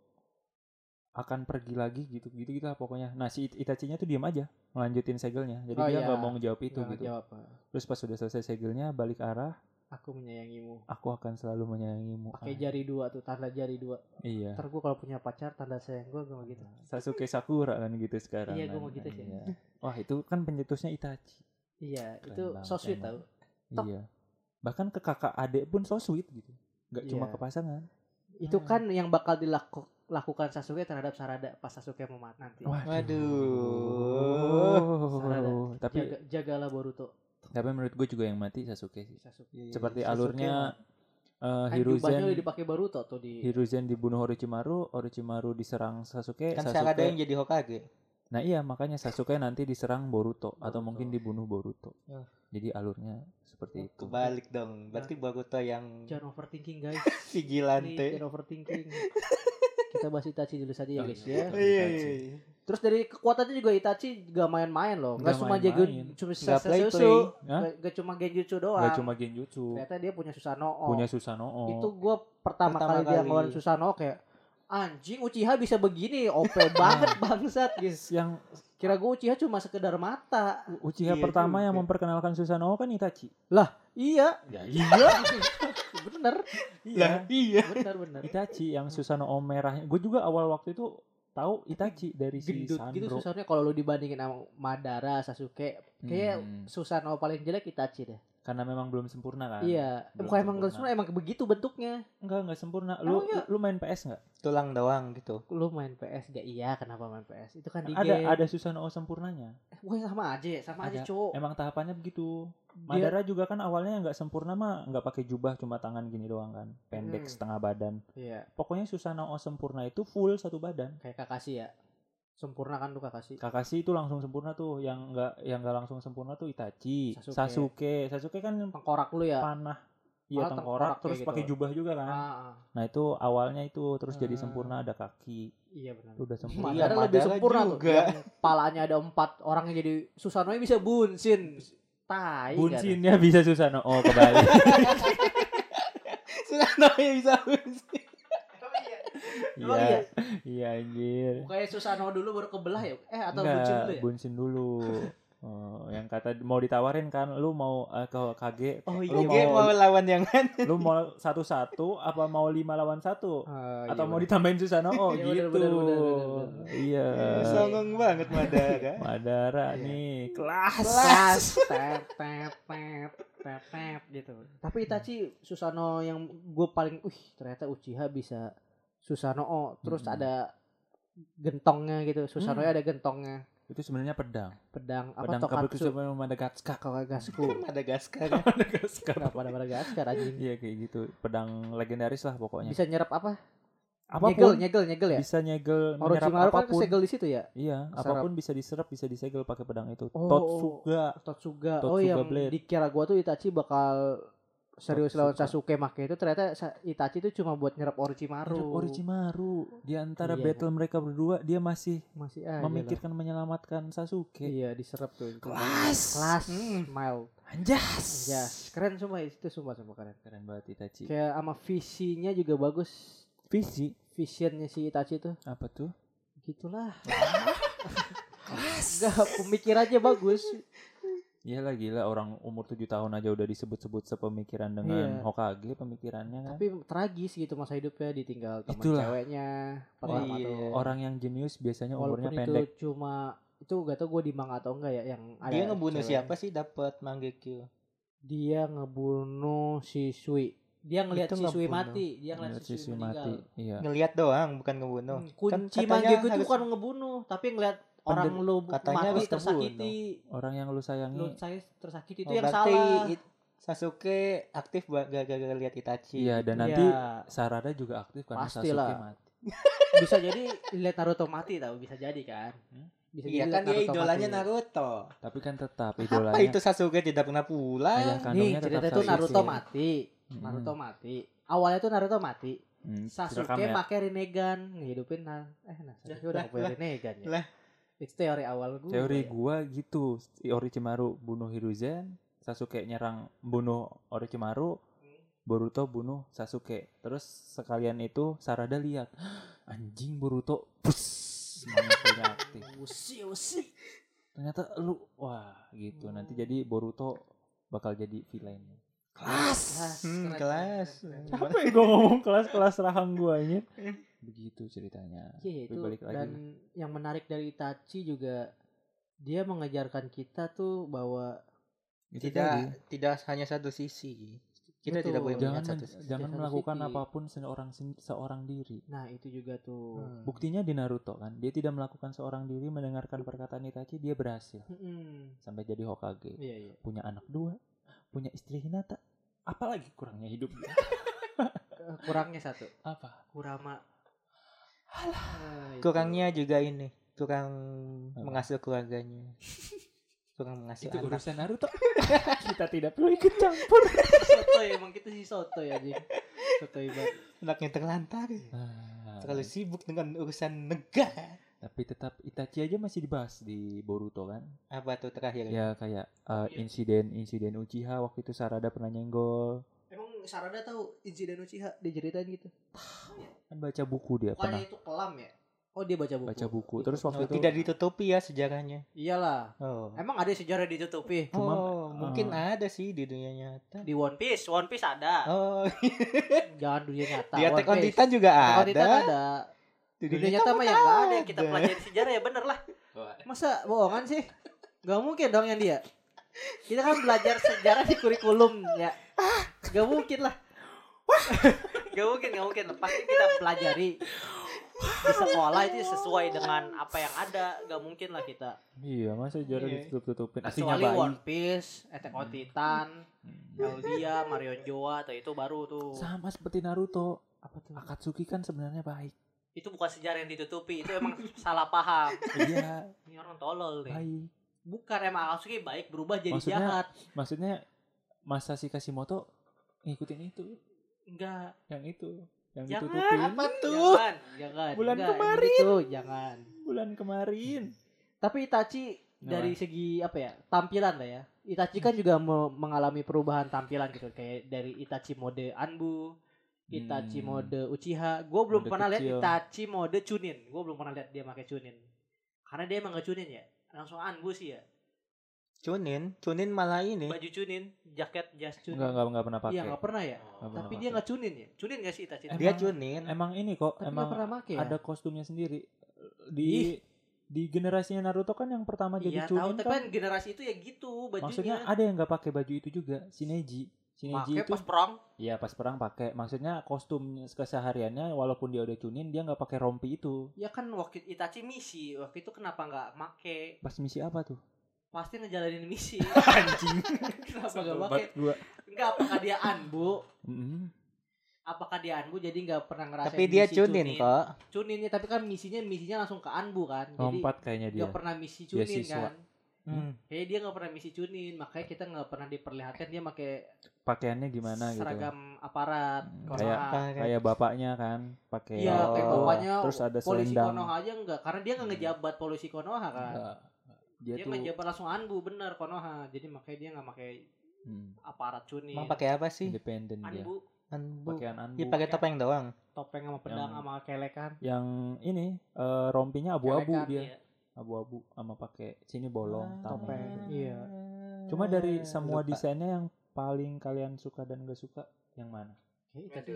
Speaker 3: akan pergi lagi gitu gitu gitu lah pokoknya nah si It- Itachi nya tuh diam aja ngelanjutin segelnya jadi
Speaker 2: Oh,
Speaker 3: dia
Speaker 2: iya.
Speaker 3: nggak mau ngejawab itu
Speaker 2: Nggak
Speaker 3: gitu
Speaker 2: ngejawab, Pak.
Speaker 3: terus pas sudah selesai segelnya balik arah
Speaker 2: aku menyayangimu
Speaker 3: aku akan selalu menyayangimu
Speaker 2: pakai
Speaker 3: Ah,
Speaker 2: jari dua tuh tanda jari dua
Speaker 3: iya
Speaker 2: ntar gue kalau punya pacar tanda sayang gue gue mau gitu
Speaker 3: Sasuke Sakura kan gitu sekarang
Speaker 2: Iya, gua
Speaker 3: kan.
Speaker 2: mau gitu sih.
Speaker 3: Iya. wah itu kan pencetusnya Itachi
Speaker 2: iya
Speaker 3: Keren
Speaker 2: itu
Speaker 3: banget
Speaker 2: so sweet tau
Speaker 3: emang.
Speaker 2: Tok.
Speaker 3: iya bahkan ke kakak adik pun so sweet gitu nggak cuma
Speaker 2: Iya.
Speaker 3: ke pasangan
Speaker 2: itu
Speaker 3: Hmm.
Speaker 2: kan yang bakal dilakukan Sasuke terhadap Sarada pas Sasuke memat nanti
Speaker 1: Waduh.
Speaker 2: Sarada.
Speaker 3: Tapi
Speaker 2: Jaga, jagalah Boruto
Speaker 3: tapi menurut gue juga yang mati Sasuke sih.
Speaker 2: Sasuke
Speaker 1: Iya,
Speaker 3: Seperti
Speaker 2: Iya, Sasuke
Speaker 3: alurnya eh,
Speaker 2: kan jubahnya udah
Speaker 3: Iya, Hiruzen
Speaker 2: dipakai Boruto tuh di
Speaker 3: Hiruzen dibunuh Orochimaru, Orochimaru diserang Sasuke,
Speaker 1: kan sekarang ada
Speaker 3: Sasuke.
Speaker 1: yang jadi Hokage.
Speaker 3: Nah iya makanya Sasuke nanti diserang Boruto, atau
Speaker 2: Boruto.
Speaker 3: mungkin dibunuh Boruto.
Speaker 1: Ya.
Speaker 3: Jadi alurnya seperti itu.
Speaker 1: Kebalik dong. Berarti Boruto
Speaker 2: Nah.
Speaker 1: yang
Speaker 2: jangan overthinking guys Please,
Speaker 1: vigilante.
Speaker 2: jangan overthinking kita bahas Itachi dulu saja ya
Speaker 3: Oh,
Speaker 2: guys ya
Speaker 3: iya.
Speaker 1: Iya, iya, iya.
Speaker 2: terus dari kekuatannya juga Itachi gak main-main loh gak
Speaker 3: Nggak
Speaker 2: cuma
Speaker 3: main-main.
Speaker 2: jago cuma
Speaker 1: Nggak play-play.
Speaker 2: Sasuke
Speaker 3: Hah?
Speaker 2: gak cuma genjutsu doang
Speaker 3: Gak cuma Genjutsu,
Speaker 2: ternyata dia punya Susanoo
Speaker 3: punya Susanoo.
Speaker 2: itu gue pertama,
Speaker 1: Pertama
Speaker 2: kali, dia
Speaker 1: kali.
Speaker 2: ngelawan Susanoo kayak anjing Uchiha bisa begini OP banget bangsat guys
Speaker 3: yang
Speaker 2: kira gue Uchiha cuma sekedar mata
Speaker 3: Uchiha
Speaker 1: Iya
Speaker 3: pertama
Speaker 1: juga.
Speaker 3: yang memperkenalkan Susanoo kan Itachi.
Speaker 2: iya
Speaker 3: Ya, iya.
Speaker 2: bener
Speaker 1: Lah, iya.
Speaker 2: bener bener
Speaker 3: Itachi yang Susanoo merahnya. Gue juga awal waktu itu tahu Itachi dari si
Speaker 2: gendut
Speaker 3: Sandro.
Speaker 2: gitu Susanoo kalau lu dibandingin sama Madara Sasuke kayak
Speaker 3: Hmm.
Speaker 2: Susanoo paling jelek Itachi deh
Speaker 3: karena memang belum sempurna kan?
Speaker 2: iya
Speaker 3: belum
Speaker 2: bukan emang gak
Speaker 3: sempurna.
Speaker 2: sempurna emang begitu bentuknya
Speaker 3: Enggak, enggak sempurna.
Speaker 2: Emang
Speaker 3: Lu
Speaker 2: enggak?
Speaker 3: lu main PS enggak?
Speaker 1: Tulang doang gitu.
Speaker 2: lu main PS gak iya kenapa main PS itu kan di
Speaker 3: Ada
Speaker 2: game
Speaker 3: ada Susanoo sempurnanya.
Speaker 2: Wah, sama aja ya sama aja
Speaker 3: Ada.
Speaker 2: cowok
Speaker 3: Emang tahapannya begitu.
Speaker 2: Dia-
Speaker 3: Madara juga kan awalnya enggak sempurna mah enggak pakai jubah cuma tangan gini doang kan.
Speaker 2: Hmm.
Speaker 3: Pendek setengah badan.
Speaker 2: iya
Speaker 3: Pokoknya Susanoo sempurna itu full satu badan.
Speaker 2: kayak Kakashi ya sempurna kan tuh Kakashi
Speaker 3: Kakashi itu langsung sempurna tuh, yang enggak yang enggak langsung sempurna tuh Itachi,
Speaker 2: Sasuke.
Speaker 3: Sasuke. Sasuke kan
Speaker 2: tengkorak lu ya
Speaker 3: panah.
Speaker 2: Malah
Speaker 3: Iya
Speaker 2: tengkorak
Speaker 3: tengkorak
Speaker 2: kayak
Speaker 3: terus
Speaker 2: gitu.
Speaker 3: pakai jubah juga kan.
Speaker 2: Ah, ah.
Speaker 3: Nah itu awalnya itu terus jadi
Speaker 2: Hmm.
Speaker 3: sempurna ada kaki
Speaker 2: iya benar
Speaker 3: udah sempurna.
Speaker 1: Iya,
Speaker 2: Madara lebih
Speaker 1: Madara
Speaker 2: sempurna tuh
Speaker 1: juga.
Speaker 2: Yang palanya ada empat orang yang jadi Susanoo bisa bunsin tai kan.
Speaker 3: Bunsinnya bisa Susano. Oh kebalik.
Speaker 1: Sudah namanya bisa.
Speaker 2: Emang iya?
Speaker 3: Iya. Iya anjir.
Speaker 2: Bukannya Susanoo dulu baru kebelah ya eh atau
Speaker 3: Nggak,
Speaker 2: bunsin dulu ya
Speaker 3: bunsin dulu. Oh, yang kata mau ditawarin kan lu mau eh, ke KG
Speaker 1: Oh
Speaker 3: iya.
Speaker 1: Lu mau lawan yang kan?
Speaker 3: lu mau satu-satu apa mau lima lawan satu
Speaker 2: Ah, iya,
Speaker 3: atau mau
Speaker 2: benar.
Speaker 3: ditambahin Susano oh
Speaker 2: Iya,
Speaker 3: gitu
Speaker 2: bener, bener, bener, bener, bener.
Speaker 3: iya
Speaker 1: Eh. Songong banget Madara.
Speaker 3: Madara
Speaker 2: Iya.
Speaker 3: nih
Speaker 2: kelas tep tep tep tep tep gitu tapi Itachi Susanoo yang gue paling uh ternyata Uchiha bisa Susanoo terus
Speaker 3: Mm-mm.
Speaker 2: ada gentongnya gitu Susanoo
Speaker 3: Hmm.
Speaker 2: ada gentongnya
Speaker 3: itu sebenarnya pedang
Speaker 2: pedang apa
Speaker 3: pedang
Speaker 2: tokatsu
Speaker 3: kabukisu Madagaskar
Speaker 2: Kakakasku
Speaker 1: Madagaskar. kan?
Speaker 3: Madagaskar
Speaker 2: kenapa ada Madagaskar anjing
Speaker 3: iya kayak gitu pedang legendaris lah pokoknya
Speaker 2: bisa nyerap apa
Speaker 3: apapun
Speaker 2: nyegel nyegel nyegel ya
Speaker 3: bisa nyegel menyerap
Speaker 2: Orochimaru kan
Speaker 3: apapun
Speaker 2: kesegel di situ ya
Speaker 3: Iya,
Speaker 2: Serap.
Speaker 3: apapun bisa diserap, bisa disegel pakai pedang itu.
Speaker 2: Oh.
Speaker 3: Totsuga.
Speaker 2: Totsuga, oh
Speaker 3: Totsuga
Speaker 2: yang
Speaker 3: Blade.
Speaker 2: dikira gua tuh Itachi bakal serius lawan Sasuke
Speaker 3: Totsuga.
Speaker 2: make itu ternyata Sa- Itachi tuh cuma buat nyerap Orochimaru
Speaker 3: Aduh, Orochimaru. Di antara
Speaker 2: Iya,
Speaker 3: battle mereka berdua, dia masih
Speaker 2: masih aja
Speaker 3: memikirkan menyelamatkan
Speaker 2: lah.
Speaker 3: Sasuke.
Speaker 2: iya diserap tuh
Speaker 1: Kelas.
Speaker 2: kelas
Speaker 1: Hmm.
Speaker 2: mild
Speaker 3: Anjas.
Speaker 2: ya keren semua itu sumpah sumpah keren
Speaker 3: Keren banget Itachi.
Speaker 2: kayak sama visinya juga bagus
Speaker 3: Visi
Speaker 2: visionnya si Itachi tuh
Speaker 3: apa tuh?
Speaker 2: gitulah Enggak, pemikirannya bagus
Speaker 3: Iyalah Iya gila orang umur 7 tahun aja udah disebut-sebut sepemikiran dengan
Speaker 2: Iya.
Speaker 3: Hokage pemikirannya kan.
Speaker 2: tapi tragis gitu masa hidupnya ditinggal teman
Speaker 3: Itulah.
Speaker 2: ceweknya pertama
Speaker 1: iya.
Speaker 2: tuh
Speaker 3: Orang yang jenius biasanya umurnya
Speaker 2: walaupun
Speaker 3: pendek.
Speaker 2: itu cuma itu gak tau gue di manga atau enggak ya yang ada
Speaker 1: Dia ngebunuh
Speaker 2: cewek.
Speaker 1: siapa sih dapat Manggekyo?
Speaker 2: dia ngebunuh si Sui Dia ngelihat
Speaker 3: Itu
Speaker 2: si Sui
Speaker 3: ngebunuh.
Speaker 2: mati, dia ngelihat si Sui
Speaker 3: mati.
Speaker 2: meninggal.
Speaker 3: Iya.
Speaker 1: Ngelihat doang bukan ngebunuh.
Speaker 2: Hmm, kunci
Speaker 1: kan katanya
Speaker 2: manggiku itu
Speaker 1: harus-
Speaker 2: bukan ngebunuh, tapi ngelihat
Speaker 3: Pendem-
Speaker 2: orang lu
Speaker 1: katanya
Speaker 2: mati
Speaker 1: harus
Speaker 2: tersakiti.
Speaker 3: Orang yang lu
Speaker 2: Lu
Speaker 3: sayangi.
Speaker 2: saya tersakiti Hmm, itu
Speaker 1: Oh,
Speaker 2: yang
Speaker 1: berarti
Speaker 2: salah.
Speaker 1: It- Sasuke aktif ba- gara-gara lihat Itachi.
Speaker 3: Iya, dan
Speaker 2: Iya.
Speaker 3: nanti Sarada juga aktif karena Sasuke
Speaker 2: Pastilah.
Speaker 3: mati.
Speaker 2: bisa jadi lihat Naruto mati tau, bisa jadi kan.
Speaker 3: Hmm?
Speaker 2: Bisa
Speaker 1: Iya
Speaker 2: jadi
Speaker 1: kan dia
Speaker 2: Naruto
Speaker 1: idolanya
Speaker 2: mati.
Speaker 1: Naruto.
Speaker 3: Tapi kan tetap
Speaker 1: Apa
Speaker 3: idolanya.
Speaker 1: itu Sasuke tidak pernah
Speaker 3: Ayah
Speaker 1: pulang?
Speaker 2: Nih,
Speaker 3: kandungnya
Speaker 2: cerita
Speaker 3: tetap
Speaker 2: itu
Speaker 3: Sasuke.
Speaker 2: Naruto mati.
Speaker 3: Mm-mm.
Speaker 2: Naruto mati. Awalnya tuh Naruto mati.
Speaker 3: Hmm,
Speaker 2: Sasuke
Speaker 3: direkam ya.
Speaker 2: pakai Rinnegan ngehidupin nah, eh nah Sasuke
Speaker 1: Lah,
Speaker 2: udah
Speaker 1: lah,
Speaker 2: punya
Speaker 1: lah,
Speaker 2: Rinnegan ya.
Speaker 1: lah.
Speaker 2: Itu teori awal gue.
Speaker 3: Teori gua gitu, Orochimaru bunuh Hiruzen, Sasuke nyerang bunuh Orochimaru,
Speaker 2: Hmm.
Speaker 3: Boruto bunuh Sasuke. Terus sekalian itu Sarada lihat, anjing Boruto, pus, manggilnya aktif.
Speaker 2: Usi usi.
Speaker 3: Ternyata lu, wah gitu. Nanti jadi Boruto bakal jadi villain.
Speaker 1: Kelas.
Speaker 2: Kelas,
Speaker 1: Hmm,
Speaker 2: keren,
Speaker 1: kelas.
Speaker 2: keren, keren.
Speaker 3: Apa yang gua ngomong kelas-kelas rahang gua ini? Begitu ceritanya.
Speaker 2: Iya
Speaker 3: Tapi
Speaker 2: itu
Speaker 3: balik lagi
Speaker 2: dan
Speaker 3: lah.
Speaker 2: yang menarik dari Itachi juga dia mengajarkan kita tuh bahwa
Speaker 3: Itu tadi.
Speaker 1: Tidak tidak hanya satu sisi. Kita
Speaker 2: Betul.
Speaker 1: tidak boleh
Speaker 3: jangan men-
Speaker 1: melihat satu sisi.
Speaker 3: jangan
Speaker 2: satu
Speaker 3: melakukan
Speaker 2: sisi.
Speaker 3: apapun seorang sen- seorang diri.
Speaker 2: nah itu juga tuh
Speaker 1: Hmm.
Speaker 3: Buktinya di Naruto kan, dia tidak melakukan seorang diri mendengarkan perkataan Itachi, dia berhasil
Speaker 2: Mm-mm.
Speaker 3: sampai jadi Hokage.
Speaker 2: Iya iya.
Speaker 3: Punya anak dua, punya istri Hinata. Apalagi kurangnya hidup dia?
Speaker 2: Eh, Kurangnya satu.
Speaker 3: Apa?
Speaker 2: Kurama. Nah, itu.
Speaker 1: Kurangnya juga ini, kurang
Speaker 3: Apa?
Speaker 1: mengasuh keluarganya. Kurang mengasuh
Speaker 3: Itu
Speaker 1: anak.
Speaker 3: urusan Naruto. Kita tidak perlu ikut campur.
Speaker 2: sotoy emang kita sih sotoy aja. Sotoy banget.
Speaker 1: Anaknya terlantar.
Speaker 3: Ah,
Speaker 1: Terlalu sibuk dengan urusan negara.
Speaker 3: tapi tetap Itachi aja masih dibahas di Boruto kan.
Speaker 1: Apa tuh terakhir?
Speaker 3: Ya kayak eh,
Speaker 2: Iya.
Speaker 3: insiden-insiden Uchiha waktu itu Sarada pernah nyenggol.
Speaker 2: Emang Sarada tahu insiden Uchiha diceritain gitu?
Speaker 3: Kan baca buku dia pernah
Speaker 2: Bukannya itu kelam ya? Oh dia baca buku.
Speaker 3: baca buku. Terus waktu
Speaker 1: Oh,
Speaker 3: itu
Speaker 1: tidak ditutupi ya sejarahnya.
Speaker 2: Iyalah.
Speaker 1: Oh.
Speaker 2: Emang ada sejarah ditutupi
Speaker 3: Cuma-
Speaker 1: oh, mungkin
Speaker 3: oh.
Speaker 1: ada sih di dunia nyata.
Speaker 2: di One Piece. One Piece ada.
Speaker 1: Oh,
Speaker 2: Eh, Jangan dunia nyata.
Speaker 1: di Attack
Speaker 2: One
Speaker 1: on
Speaker 2: Piece.
Speaker 1: Titan juga
Speaker 2: Attack on Titan
Speaker 1: ada.
Speaker 2: ada.
Speaker 1: Di
Speaker 2: Dunia nyata mah yang nggak ada yang kita
Speaker 1: ada.
Speaker 2: pelajari sejarah ya bener lah. Masa bohongan sih? Gak mungkin dong yang dia. Kita kan belajar sejarah di kurikulum ya. Gak mungkin lah. Gak mungkin, gak mungkin. Pasti kita pelajari di sekolah itu sesuai dengan apa yang ada. Gak mungkin lah kita.
Speaker 3: Iya, masa jarang
Speaker 1: Iya.
Speaker 3: ditutup-tutupin.
Speaker 2: Kecuali
Speaker 3: Aslinya bayi.
Speaker 2: One Piece, Attack on Titan,
Speaker 3: Hmm.
Speaker 2: Eldia, Marion Joa, atau itu baru tuh.
Speaker 3: Sama seperti Naruto. Apa tuh? Akatsuki kan sebenarnya baik.
Speaker 2: Itu bukan sejarah yang ditutupi, itu emang salah paham.
Speaker 3: Iya,
Speaker 2: Ini orang tolol nih.
Speaker 3: baik.
Speaker 2: Bukan emang Akatsuki baik berubah jadi
Speaker 3: Maksudnya-
Speaker 2: jahat.
Speaker 3: Maksudnya Masashi Kashimoto ngikutin itu,
Speaker 2: Enggak.
Speaker 3: yang itu, yang
Speaker 2: Jangan,
Speaker 3: ditutupin Iya,
Speaker 1: Apa tuh?
Speaker 2: Jangan, jangan.
Speaker 3: Bulan
Speaker 2: Enggak,
Speaker 3: kemarin.
Speaker 2: Itu jangan.
Speaker 3: bulan kemarin.
Speaker 2: Tapi Itachi dari segi apa ya? Tampilan lah ya. Itachi kan juga me- mengalami perubahan tampilan gitu kayak dari Itachi mode Anbu, Itachi
Speaker 3: Hmm.
Speaker 2: mode Uchiha. Gue belum
Speaker 3: Mode
Speaker 2: pernah lihat
Speaker 3: kecil.
Speaker 2: Itachi mode Chunin. Gue belum pernah lihat dia pakai Chunin. Karena dia emang gak Chunin ya. Langsung Anbu sih ya.
Speaker 1: Chunin, Chunin malah
Speaker 3: Eh.
Speaker 1: ini.
Speaker 2: Baju Chunin, jaket jas Chunin.
Speaker 3: Enggak, enggak, enggak pernah pakai.
Speaker 2: Iya, gak pernah ya.
Speaker 3: Nggak
Speaker 2: Tapi
Speaker 3: pernah
Speaker 2: dia
Speaker 3: pakai.
Speaker 2: gak Chunin ya. Chunin gak sih Itachi?
Speaker 1: Dia
Speaker 3: Emang-
Speaker 1: Chunin.
Speaker 3: Emang ini kok,
Speaker 2: Tapi
Speaker 3: emang
Speaker 2: nggak pernah pakai ya.
Speaker 3: ada kostumnya sendiri. Di di generasinya Naruto kan yang pertama
Speaker 2: Iya
Speaker 3: jadi
Speaker 2: tahu,
Speaker 3: Chunin
Speaker 2: tapi
Speaker 3: kan.
Speaker 2: kan generasi itu ya gitu bajunya.
Speaker 3: Maksudnya ada yang nggak pakai baju itu juga, Shineji. Shineji
Speaker 2: pakai
Speaker 3: itu
Speaker 2: pas perang
Speaker 3: Iya pas perang pakai, maksudnya kostum kesehariannya walaupun dia udah cunin dia nggak pakai rompi itu.
Speaker 2: ya kan waktu Itachi misi waktu itu kenapa nggak make
Speaker 3: Pas misi apa tuh?
Speaker 2: pasti ngejalanin misi
Speaker 3: Anjing.
Speaker 2: kenapa nggak make
Speaker 3: Gua.
Speaker 2: nggak apakah dia anbu
Speaker 3: Mm-mm.
Speaker 2: apakah dia anbu jadi nggak pernah ngerasain
Speaker 1: Tapi dia
Speaker 2: misi
Speaker 1: Chunin kok.
Speaker 2: Chuninnya, tapi kan misinya misinya langsung ke anbu kan jadi
Speaker 3: Lompat kayaknya dia.
Speaker 2: nggak pernah misi cunin
Speaker 3: Dia siswa.
Speaker 2: kan
Speaker 1: Hmm.
Speaker 2: Kayaknya dia nggak pernah misi cunin makanya kita nggak pernah diperlihatkan dia pakai
Speaker 3: Pakaiannya gimana gitu.
Speaker 2: seragam aparat
Speaker 3: Hmm,
Speaker 2: Konoha.
Speaker 3: Kayak bapaknya kan pakai.
Speaker 2: Iya, kayak
Speaker 1: Oh.
Speaker 2: bapaknya
Speaker 3: Terus ada
Speaker 2: polisi kan.
Speaker 3: selendang.
Speaker 2: Konoha aja enggak, karena dia nggak
Speaker 3: Hmm.
Speaker 2: ngejabat polisi Konoha kan.
Speaker 3: Nggak. Dia,
Speaker 2: dia
Speaker 3: tuh
Speaker 2: ngejabat langsung anbu bener Konoha. Jadi makanya dia nggak pakai
Speaker 3: hmm,
Speaker 2: aparat cunin.
Speaker 1: Emang pakai apa sih?
Speaker 3: independen dia.
Speaker 2: anbu,
Speaker 1: Anbu.
Speaker 3: Pakaian anbu.
Speaker 1: Dia pakai topeng doang.
Speaker 2: topeng sama pedang
Speaker 3: Yang-
Speaker 2: sama kelekan.
Speaker 3: Yang ini eh, rompinya abu-abu
Speaker 2: Kelekan,
Speaker 3: dia.
Speaker 2: iya.
Speaker 3: Abu-abu sama pakai sini bolong
Speaker 1: Ah,
Speaker 3: tamu.
Speaker 2: topeng. Iya.
Speaker 3: Cuma dari semua
Speaker 1: Lupa.
Speaker 3: desainnya yang paling kalen suka dan gak suka yang mana?
Speaker 2: Kayaknya Itachi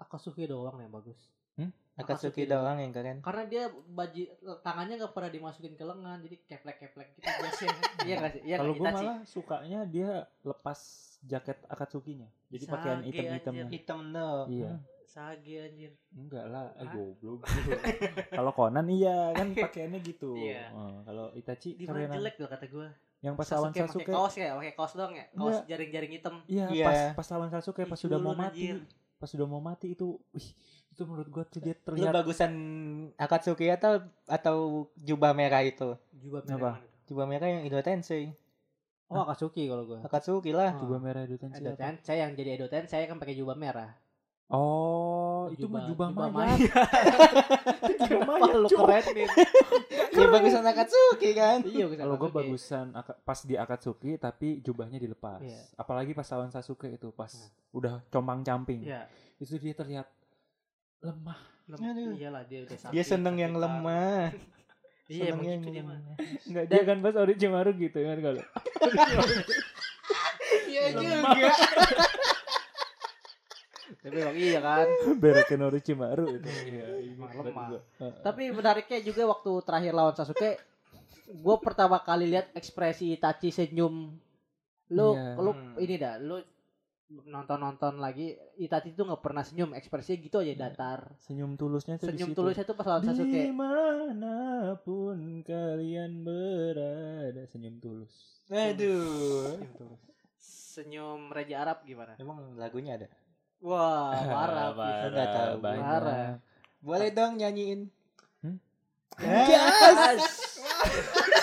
Speaker 2: Akatsuki doang yang bagus.
Speaker 1: Hmm?
Speaker 2: Akatsuki
Speaker 1: Akatsuki
Speaker 2: doang.
Speaker 1: doang yang keren.
Speaker 2: Karena dia baji tangannya nggak pernah dimasukin ke lengan, jadi keplek-keplek gitu biasanya. iya nggak sih? Iya
Speaker 3: Kalau
Speaker 2: nggak,
Speaker 3: gue
Speaker 2: Itachi?
Speaker 3: malah sukanya dia lepas jaket Akatsukinya. Jadi pakaian
Speaker 2: Sage
Speaker 3: hitam-hitamnya.
Speaker 2: anjir.
Speaker 1: Hitam no.
Speaker 3: Iya.
Speaker 2: Sage anjir.
Speaker 3: Enggak lah, eh
Speaker 2: Hah?
Speaker 3: goblok. Kalau Conan iya kan pakaiannya gitu.
Speaker 2: Iya.
Speaker 3: Eh, kalau Itachi
Speaker 2: Di mana
Speaker 3: kerenan.
Speaker 2: jelek loh kata gue.
Speaker 3: Yang pas lawan
Speaker 2: pakai
Speaker 3: Sasuke.
Speaker 2: kaos ya, pakai kaos doang ya. Kaos
Speaker 3: Nggak.
Speaker 2: jaring-jaring hitam.
Speaker 3: Iya,
Speaker 1: Iya.
Speaker 3: pas pas lawan Sasuke pas
Speaker 2: Ih,
Speaker 3: sudah mau
Speaker 2: culun,
Speaker 3: mati.
Speaker 2: anjir.
Speaker 3: Pas sudah mau mati itu, wih, itu menurut gua tuh dia
Speaker 1: Lu
Speaker 3: terlihat
Speaker 1: bagusan Akatsuki atau atau jubah merah itu?
Speaker 2: Jubah
Speaker 3: Apa?
Speaker 2: merah. mana tuh?
Speaker 1: Jubah merah yang Indo Tensei.
Speaker 2: Oh, Akatsuki kalau gue.
Speaker 1: Akatsuki lah.
Speaker 3: juga
Speaker 2: Ah.
Speaker 3: merah itu
Speaker 2: Edo
Speaker 3: Tensei. apa?
Speaker 2: Tensei yang jadi Edo Tensei kan pakai jubah merah.
Speaker 3: Oh, itu mah jubah mayat.
Speaker 2: Kenapa lu kerenin?
Speaker 1: Ya bagusan Akatsuki kan.
Speaker 2: Iya, bisa
Speaker 3: Kalau gue
Speaker 2: Akatsuki.
Speaker 3: bagusan aka- pas di Akatsuki tapi jubahnya dilepas.
Speaker 2: Iya.
Speaker 3: Apalagi pas lawan Sasuke itu pas
Speaker 2: Nah.
Speaker 3: udah compang camping.
Speaker 2: Iya.
Speaker 3: Itu dia terlihat lemah.
Speaker 2: Lem-
Speaker 1: Aduh.
Speaker 2: Iyalah dia udah sakit.
Speaker 1: Dia seneng yang
Speaker 2: sakitan.
Speaker 1: lemah.
Speaker 2: Iya, emang
Speaker 1: Seneng yang
Speaker 2: gitu dia mah.
Speaker 1: lemah.
Speaker 3: Enggak dia kan pas Orochimaru gitu kan kalau.
Speaker 1: Iya
Speaker 2: Lemah.
Speaker 1: juga.
Speaker 2: Tapi emang iya kan.
Speaker 3: Berekin Orochimaru itu. Iya,
Speaker 2: Emang
Speaker 3: hebat
Speaker 2: lemah.
Speaker 3: juga. Heeh.
Speaker 2: Tapi menariknya juga waktu terakhir lawan Sasuke, gue pertama kali lihat ekspresi Itachi senyum. Lu,
Speaker 3: Iya.
Speaker 2: lu
Speaker 1: Hmm.
Speaker 2: ini dah, lu nonton-nonton lagi Itachi tuh nggak pernah senyum, ekspresinya gitu aja datar.
Speaker 3: senyum tulusnya tuh di
Speaker 2: Senyum
Speaker 3: situ.
Speaker 2: tulusnya tuh pas lawan Sasuke.
Speaker 3: Dimanapun kalian berada senyum tulus.
Speaker 1: Aduh.
Speaker 3: Senyum tulus.
Speaker 2: Senyum Raja Arab gimana?
Speaker 1: Emang lagunya ada?
Speaker 2: Wah, parah.
Speaker 1: parah, Nggak tahu.
Speaker 3: banyak.
Speaker 2: Parah.
Speaker 1: Boleh dong nyanyiin.
Speaker 3: Hmm?
Speaker 2: Yes.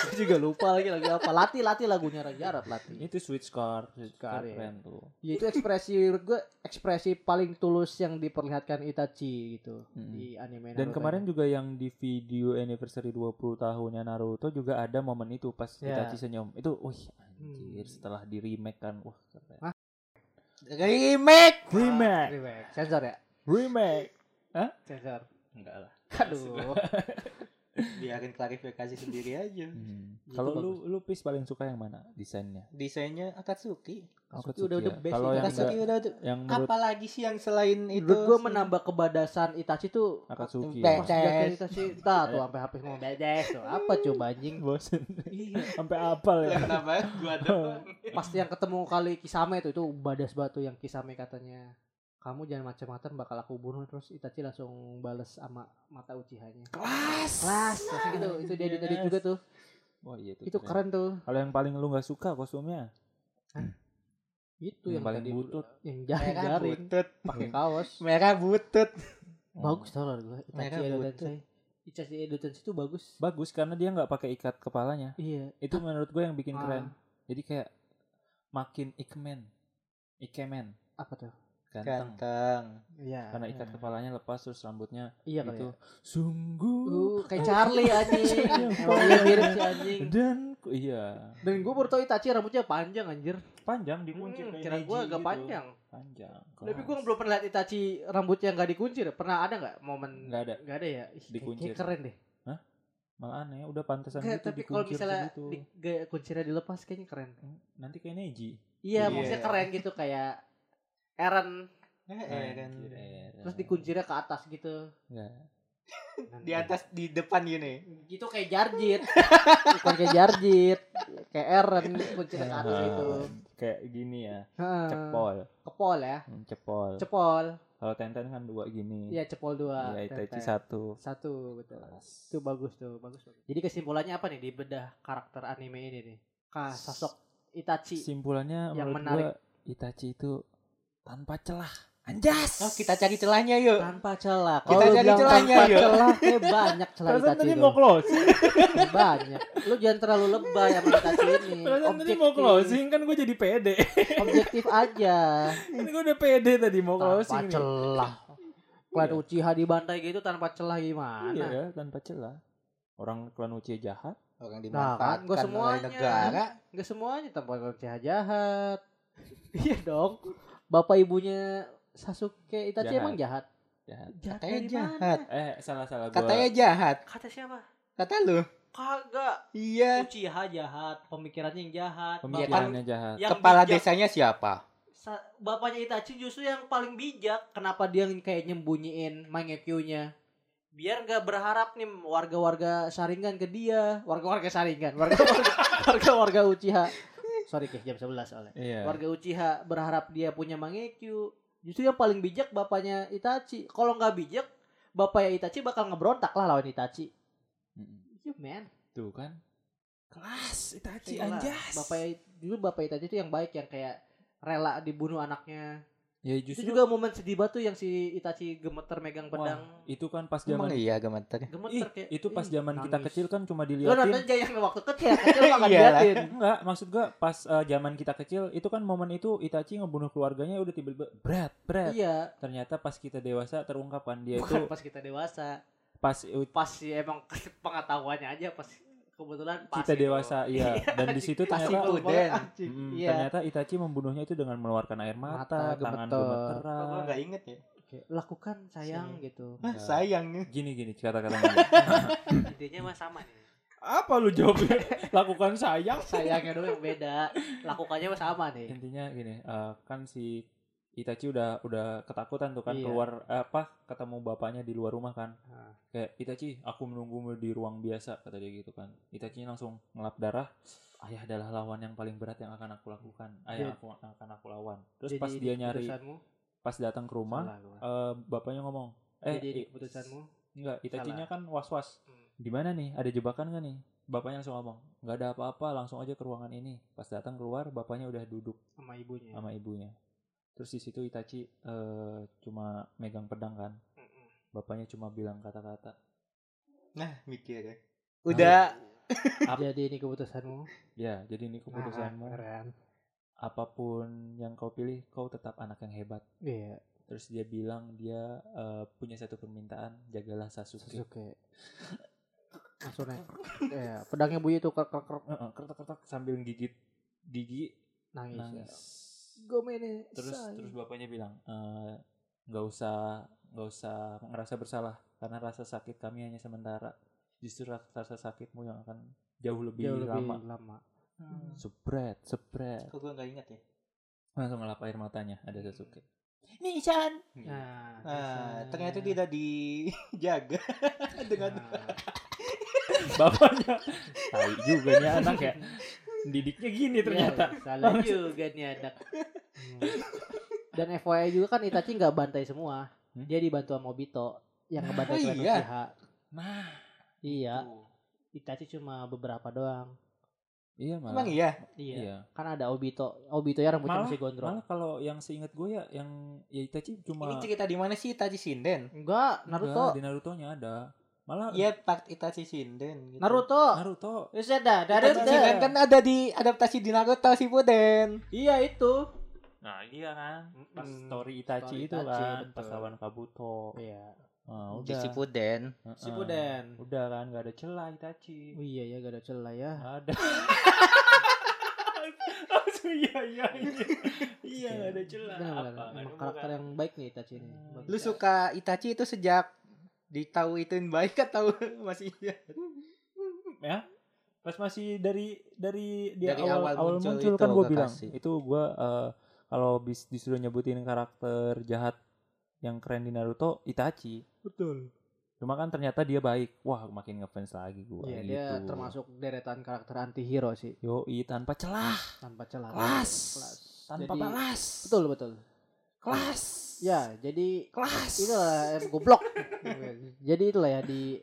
Speaker 2: Gua juga lupa lagi lagi apa. Lati lati lagunya Raja Arab lati.
Speaker 3: Itu switch card, switch card
Speaker 2: Keren.
Speaker 3: keren tuh.
Speaker 2: Ya itu ekspresi menurut gue ekspresi paling tulus yang diperlihatkan Itachi gitu
Speaker 3: Mm-mm.
Speaker 2: di anime.
Speaker 3: Dan
Speaker 2: Naruto
Speaker 3: kemarin
Speaker 2: ini.
Speaker 3: juga yang di video anniversary 20 tahunnya Naruto juga ada momen itu pas
Speaker 2: Ya.
Speaker 3: Itachi senyum. Itu wih anjir
Speaker 2: Hmm.
Speaker 3: setelah di remake kan wah keren.
Speaker 1: Remake.
Speaker 2: Ah,
Speaker 3: Remake,
Speaker 2: remake. Sensor ya?
Speaker 3: remake.
Speaker 2: Sensor.
Speaker 1: Enggak lah.
Speaker 2: Aduh.
Speaker 1: Biarin klarifikasi sendiri aja.
Speaker 2: Itu
Speaker 3: Hmm. Kalau
Speaker 2: bagus.
Speaker 3: lu lu pis paling suka yang mana desainnya?
Speaker 1: Desainnya Akatsuki.
Speaker 2: Akatsuki
Speaker 3: Akatsuki
Speaker 2: udah
Speaker 3: ya.
Speaker 2: udah best
Speaker 3: Kalau
Speaker 2: itu.
Speaker 3: yang
Speaker 1: Akatsuki
Speaker 3: enggak-
Speaker 1: udah tuh.
Speaker 3: Yang menurut
Speaker 1: Apalagi sih yang selain itu?
Speaker 2: Menurut gue
Speaker 1: sih?
Speaker 2: menambah kebadasan Itachi tuh
Speaker 3: Akatsuki. ya.
Speaker 1: Pe-
Speaker 2: Pas jaket Itachi Tah tuh sampai habis ngomong bedes tuh. Apa coba anjing?
Speaker 3: Bosen.
Speaker 2: Iya.
Speaker 3: Sampai apal ya.
Speaker 1: Kenapa gua doang?
Speaker 2: Pasti yang ketemu kali Kisame itu itu badas batu yang Kisame katanya kamu jangan macam-macam bakal aku bunuh terus Itachi langsung bales sama mata Uchiha-nya.
Speaker 1: Kelas.
Speaker 2: Kelas, Terus itu itu dia diedit
Speaker 3: Yes.
Speaker 2: juga tuh.
Speaker 3: Wah, iya tuh
Speaker 2: Itu keren tuh.
Speaker 3: Kalau yang paling lu nggak suka kostumnya?
Speaker 2: Itu yang,
Speaker 3: Yang paling
Speaker 2: tadi-
Speaker 3: butut.
Speaker 2: yang
Speaker 1: Merah
Speaker 2: jaring-jaring
Speaker 1: butut.
Speaker 2: pakai kaos.
Speaker 1: Merah butut.
Speaker 2: Bagus tau lah gue. Itachi
Speaker 1: Merah
Speaker 2: Edo
Speaker 1: butut.
Speaker 2: Tensei. Itachi Edo Tensei itu bagus.
Speaker 3: Bagus karena dia nggak pakai ikat kepalanya.
Speaker 2: Iya.
Speaker 3: Itu menurut gue yang bikin
Speaker 2: Ah.
Speaker 3: keren. Jadi kayak makin ikmen. Ikemen.
Speaker 2: Apa tuh?
Speaker 3: Ganteng.
Speaker 1: Ganteng. Eh,
Speaker 2: Iya.
Speaker 3: Karena ikat kepalanya lepas terus rambutnya
Speaker 2: Iya kali
Speaker 3: itu
Speaker 2: ya.
Speaker 3: sungguh
Speaker 2: Uh, kayak Charlie anjing. Emang dia mirip si anjing.
Speaker 3: dan ku- iya
Speaker 2: Dan gue baru tau Itachi rambutnya panjang anjir.
Speaker 3: panjang dikunci kayak
Speaker 2: Hmm, kira gue
Speaker 3: Neji
Speaker 2: agak
Speaker 3: gitu.
Speaker 2: panjang.
Speaker 3: Panjang.
Speaker 2: Tapi
Speaker 3: keras.
Speaker 2: gue belum pernah lihat Itachi rambutnya nggak dikunci deh. Pernah ada nggak momen?
Speaker 3: nggak ada.
Speaker 2: Nggak ada ya. Ih, kayak-
Speaker 3: Dikunci.
Speaker 2: kayak keren deh.
Speaker 3: Malah aneh udah pantesan
Speaker 2: Nggak,
Speaker 3: gitu
Speaker 2: tapi kalau
Speaker 3: dikuncir
Speaker 2: misalnya
Speaker 3: segitu.
Speaker 2: di, gaya kuncinya dilepas kayaknya keren.
Speaker 3: Hmm, Nanti kayak Neji.
Speaker 2: Iya,
Speaker 1: Iya.
Speaker 2: maksudnya keren gitu kayak Eren
Speaker 1: Eh,
Speaker 2: Nah,
Speaker 1: eh, kan.
Speaker 3: Anjir, Eren.
Speaker 2: Iya, terus dikuncinya ke atas gitu.
Speaker 3: Nggak.
Speaker 1: Di atas di depan gini.
Speaker 2: Gitu kayak Jarjit. Bukan kayak Jarjit, kayak Eren kuncinya ke atas gitu.
Speaker 3: Ah, Kayak gini ya,
Speaker 2: Heeh.
Speaker 3: cepol,
Speaker 2: Kepol ya.
Speaker 3: Hmm, cepol.
Speaker 2: Cepol.
Speaker 3: Kalau Tenten kan dua gini.
Speaker 2: Iya, cepol dua.
Speaker 3: Ya,
Speaker 2: Tenten.
Speaker 3: Itachi satu.
Speaker 2: Satu, betul. Itu bagus tuh, bagus. bagus. Jadi kesimpulannya apa nih di bedah karakter anime ini nih? Ka sosok Itachi.
Speaker 3: Simpulannya
Speaker 2: Yang
Speaker 3: yang
Speaker 2: menarik.
Speaker 3: menarik Itachi itu tanpa celah. Anjas.
Speaker 1: Oh, kita cari celahnya yuk.
Speaker 2: tanpa celah.
Speaker 1: Kita
Speaker 2: Kalau lu
Speaker 1: cari
Speaker 2: bilang
Speaker 1: celahnya,
Speaker 2: tanpa
Speaker 1: yuk.
Speaker 2: celah, eh banyak celah
Speaker 3: Perasaan
Speaker 2: Itachi
Speaker 3: tadi
Speaker 2: itu.
Speaker 3: mau close.
Speaker 2: banyak. Lu jangan terlalu lebay sama Itachi ini.
Speaker 3: Perasaan tadi mau closing kan gue jadi pede.
Speaker 2: objektif aja.
Speaker 3: kan gue udah pede tadi mau
Speaker 2: Tanpa
Speaker 3: closing. nih.
Speaker 2: celah. Klan
Speaker 3: Iya.
Speaker 2: Uchiha dibantai gitu tanpa celah gimana?
Speaker 3: Iya ya, tanpa celah. Orang klan Uchiha jahat.
Speaker 1: Orang
Speaker 2: Nah,
Speaker 1: dimanfaatkan
Speaker 2: kan, gua
Speaker 1: oleh
Speaker 2: semuanya.
Speaker 1: negara.
Speaker 2: Nggak semuanya tanpa Klan Uchiha jahat. iya dong. Bapak ibunya Sasuke Itachi
Speaker 3: Jahat.
Speaker 2: emang jahat.
Speaker 3: Jahat.
Speaker 2: Jahat
Speaker 1: Katanya
Speaker 2: dari
Speaker 1: jahat.
Speaker 2: mana?
Speaker 3: Eh, salah-salah gue.
Speaker 1: Katanya jahat.
Speaker 2: Kata siapa?
Speaker 1: Kata lu.
Speaker 2: Kagak.
Speaker 1: Iya.
Speaker 2: Uchiha jahat, pemikirannya yang jahat.
Speaker 1: Pemikiran-
Speaker 3: pemikirannya jahat.
Speaker 2: Yang
Speaker 1: Kepala
Speaker 2: bijak.
Speaker 1: desanya siapa?
Speaker 2: sa- bapaknya Itachi justru yang paling bijak. Kenapa dia kayak nyembunyiin Mangekyo-nya? Biar gak berharap nih warga-warga Sharingan ke dia, warga-warga Sharingan, warga-warga warga-warga Uchiha. Sorry, Keh, jam 11 soalnya.
Speaker 3: Iya.
Speaker 2: Warga Uchiha berharap dia punya Mangekyo. Justru yang paling bijak bapaknya Itachi. Kalau nggak bijak, bapaknya Itachi bakal ngebrontak lah lawan Itachi.
Speaker 3: Mm-mm.
Speaker 2: You man.
Speaker 3: Tuh kan. Kelas Itachi
Speaker 2: Gila.
Speaker 3: anjas.
Speaker 2: Bapaknya dulu bapak ya. Itachi itu yang baik yang kayak rela dibunuh anaknya.
Speaker 3: ya
Speaker 2: Itu
Speaker 3: justru
Speaker 2: juga momen sedih banget tuh yang si Itachi gemeter megang pedang.
Speaker 3: Wah, itu kan pas
Speaker 1: Emang
Speaker 3: zaman
Speaker 1: iya gemeter.
Speaker 3: Ih,
Speaker 2: gemeter kayak.
Speaker 3: itu pas
Speaker 2: ih,
Speaker 3: zaman kita
Speaker 2: nangis.
Speaker 3: kecil kan cuma
Speaker 2: Lo nonton
Speaker 3: diliatin. Iya,
Speaker 2: aja yang waktu kecil, kecil makan
Speaker 1: Iyalah.
Speaker 2: diliatin.
Speaker 3: Enggak, maksud gua pas eh, zaman kita kecil itu kan momen itu Itachi ngebunuh keluarganya udah tiba-tiba berat, berat.
Speaker 2: Iya,
Speaker 3: Ternyata pas kita dewasa terungkapan dia
Speaker 2: bukan
Speaker 3: Ya, itu
Speaker 2: pas kita dewasa.
Speaker 3: pas u-
Speaker 2: Pas sih emang pengetahuannya aja pas kebetulan pas
Speaker 3: kita
Speaker 2: gitu.
Speaker 3: dewasa iya dan di situ
Speaker 2: Pas
Speaker 1: Pasti
Speaker 3: ternyata
Speaker 1: itu.
Speaker 2: itu banget,
Speaker 1: Den.
Speaker 2: anjing.
Speaker 3: Mm,
Speaker 2: Iya.
Speaker 3: ternyata Itachi membunuhnya itu dengan mengeluarkan air mata,
Speaker 2: Mata gemeter.
Speaker 3: tangan
Speaker 1: Kok gua
Speaker 3: gemeteran.
Speaker 1: nggak inget ya? Nah.
Speaker 2: Kayak, Lakukan sayang
Speaker 1: Sini.
Speaker 2: gitu.
Speaker 1: Hah,
Speaker 3: Enggak.
Speaker 1: Ah, sayang nih.
Speaker 3: Gini gini kata-katanya.
Speaker 2: Intinya mah sama nih.
Speaker 3: Apa lu jawabnya? Lakukan sayang.
Speaker 2: Sayangnya doang yang beda. Lakukannya mah sama nih.
Speaker 3: Intinya gini, eh, kan si Itachi udah udah ketakutan tuh kan
Speaker 2: Iya.
Speaker 3: keluar eh, apa ketemu bapaknya di luar rumah kan.
Speaker 2: Ah.
Speaker 3: Kayak Itachi, aku menunggumu di ruang biasa kata dia gitu kan. Itachi langsung ngelap darah. Ayah adalah lawan yang paling berat yang akan aku lakukan.
Speaker 2: Jadi-
Speaker 3: Ayah aku akan aku lawan.
Speaker 2: Iya.
Speaker 3: Terus
Speaker 2: Jadi
Speaker 3: pas
Speaker 2: ini
Speaker 3: dia nyari,
Speaker 2: keputusanmu.
Speaker 3: pas datang ke rumah,
Speaker 2: Salah gua.
Speaker 3: eh, bapaknya ngomong, eh
Speaker 2: Jadi ini
Speaker 3: i-
Speaker 2: keputusanmu.
Speaker 3: Enggak, Itachinya
Speaker 2: Salah.
Speaker 3: kan was-was.
Speaker 2: Hmm.
Speaker 3: Di mana nih? Ada jebakan nggak nih? Bapaknya langsung ngomong, nggak ada apa-apa, langsung aja ke ruangan ini. Pas datang keluar, bapaknya udah duduk
Speaker 2: sama ibunya.
Speaker 3: sama ibunya. Terus di situ Itachi eh, cuma megang pedang kan.
Speaker 2: Mm-mm.
Speaker 3: Bapaknya cuma bilang kata-kata.
Speaker 1: Nah, mikir ya. Udah
Speaker 2: Jadi ini keputusanmu.
Speaker 3: Ya, jadi ini keputusanmu.
Speaker 2: Ah, keren.
Speaker 3: Apapun yang kau pilih, kau tetap anak yang hebat.
Speaker 2: Iya,
Speaker 3: Terus dia bilang dia eh, punya satu permintaan, jagalah Sasuke.
Speaker 2: Sasuke. Langsung naik. Iya, pedangnya bunyi tuh krek krek krek
Speaker 3: Eh, eh, kertak-kertak sambil gigit gigi
Speaker 2: nangis.
Speaker 3: nangis.
Speaker 2: Gomene.
Speaker 3: terus terus bapaknya bilang "Eh, nggak usah nggak usah ngerasa bersalah karena rasa sakit kami hanya sementara justru ra- rasa sakitmu yang akan jauh lebih
Speaker 2: jauh lebih
Speaker 3: lama
Speaker 2: lama. Hmm.
Speaker 3: Sepret, sepret.
Speaker 1: Kok gue gak inget ya?
Speaker 3: Langsung ngelap air matanya ada Sasuke.
Speaker 1: Nisan.
Speaker 2: Nah,
Speaker 1: Nah, ternyata
Speaker 2: di
Speaker 1: tidak dijaga dengan
Speaker 3: Bapaknya. Tai juga nih anak ya. Didiknya gini ternyata.
Speaker 2: Iya, salah juga nih anak. Hmm. Dan FYI juga kan Itachi nggak bantai semua.
Speaker 3: Hmm?
Speaker 2: Dia dibantu sama Obito yang ngebantai
Speaker 1: Ah,
Speaker 2: Clan
Speaker 1: iya.
Speaker 2: Uchiha.
Speaker 3: Nah,
Speaker 2: Iya,
Speaker 1: Tuh.
Speaker 2: Itachi cuma beberapa doang.
Speaker 3: iya
Speaker 1: Emang
Speaker 3: malah.
Speaker 1: iya?
Speaker 2: Iya.
Speaker 3: Iya.
Speaker 2: kan ada Obito Obito ya rambutnya
Speaker 3: Malah-
Speaker 2: masih gondrong
Speaker 3: Malah kalau yang seingat gue ya yang ya Itachi
Speaker 1: Ini
Speaker 3: cuma
Speaker 1: cerita di mana sih Itachi Shinden?
Speaker 2: enggak Naruto
Speaker 3: Enggak, di Naruto-nya ada. Malah
Speaker 1: Iya, part Itachi Shinden gitu.
Speaker 2: Naruto
Speaker 3: Naruto
Speaker 2: Bisa dah dari
Speaker 1: Itachi Shinden kan ada di adaptasi di Naruto Shippuden.
Speaker 2: iya itu
Speaker 3: Nah iya kan Pas
Speaker 2: Mm-mm.
Speaker 3: story Itachi
Speaker 2: Story
Speaker 3: itu
Speaker 2: Itachi,
Speaker 3: kan Pas
Speaker 2: betul.
Speaker 3: lawan Kabuto
Speaker 2: iya
Speaker 3: Nah,
Speaker 1: Di
Speaker 3: udah
Speaker 1: Shippuden.
Speaker 3: Heeh.
Speaker 2: Shippuden
Speaker 3: Udah kan gak ada celah Itachi
Speaker 2: oh iya ya gak ada celah ya
Speaker 3: Gak ada Langsung iya iya iya Iya
Speaker 2: Oke.
Speaker 3: gak ada celah
Speaker 2: Benar, benar.
Speaker 3: Apa
Speaker 2: Emang
Speaker 3: Aduh,
Speaker 2: karakter
Speaker 3: bukan.
Speaker 2: yang baik nih Itachi ini
Speaker 3: Hmm.
Speaker 2: Bagus.
Speaker 1: Lu suka Itachi itu sejak ditahu ituin baik atau masih iya?
Speaker 3: ya Pas masih dari dari dia
Speaker 1: Dari
Speaker 3: awal,
Speaker 1: awal
Speaker 3: awal
Speaker 1: muncul
Speaker 3: muncul,
Speaker 1: itu
Speaker 3: kan gue
Speaker 1: gua
Speaker 3: bilang
Speaker 1: kasih.
Speaker 3: itu gue eh, kalau bis disuruh nyebutin karakter jahat yang keren di Naruto Itachi
Speaker 2: betul
Speaker 3: cuma kan ternyata dia baik wah makin ngefans lagi gue
Speaker 2: iya
Speaker 3: gitu.
Speaker 2: dia termasuk deretan karakter anti hero sih
Speaker 3: Yoi tanpa celah,
Speaker 2: tanpa celah
Speaker 3: kelas,
Speaker 2: Kelas.
Speaker 3: tanpa
Speaker 2: Jadi-
Speaker 3: balas,
Speaker 2: betul betul
Speaker 3: kelas,
Speaker 2: ya jadi
Speaker 3: kelas.
Speaker 2: itulah eh, em, goblok jadi itulah ya di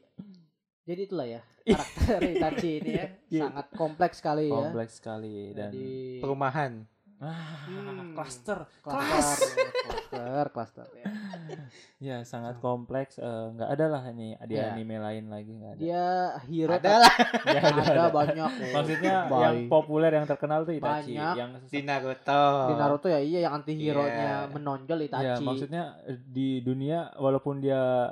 Speaker 2: jadi itulah ya karakter Itachi ini ya
Speaker 3: Iya.
Speaker 2: sangat kompleks sekali ya
Speaker 3: kompleks sekali dan
Speaker 2: jadi
Speaker 1: Perumahan.
Speaker 3: ah,
Speaker 2: Hmm.
Speaker 3: cluster.
Speaker 2: klaster ya, klaster klaster ya.
Speaker 3: Ya sangat kompleks, eh, nggak ada lah ini di
Speaker 2: Iya.
Speaker 3: anime lain lagi nggak ada.
Speaker 2: dia hero tapi
Speaker 1: Adalah
Speaker 3: Ya,
Speaker 2: ada, banyak ya.
Speaker 3: Maksudnya
Speaker 2: Baik.
Speaker 3: yang populer yang terkenal tuh Itachi,
Speaker 2: Banyak.
Speaker 3: yang
Speaker 1: di Naruto.
Speaker 2: di Naruto ya iya yang anti hero nya
Speaker 1: Iya.
Speaker 2: menonjol Itachi
Speaker 3: ya maksudnya eh, di dunia walaupun dia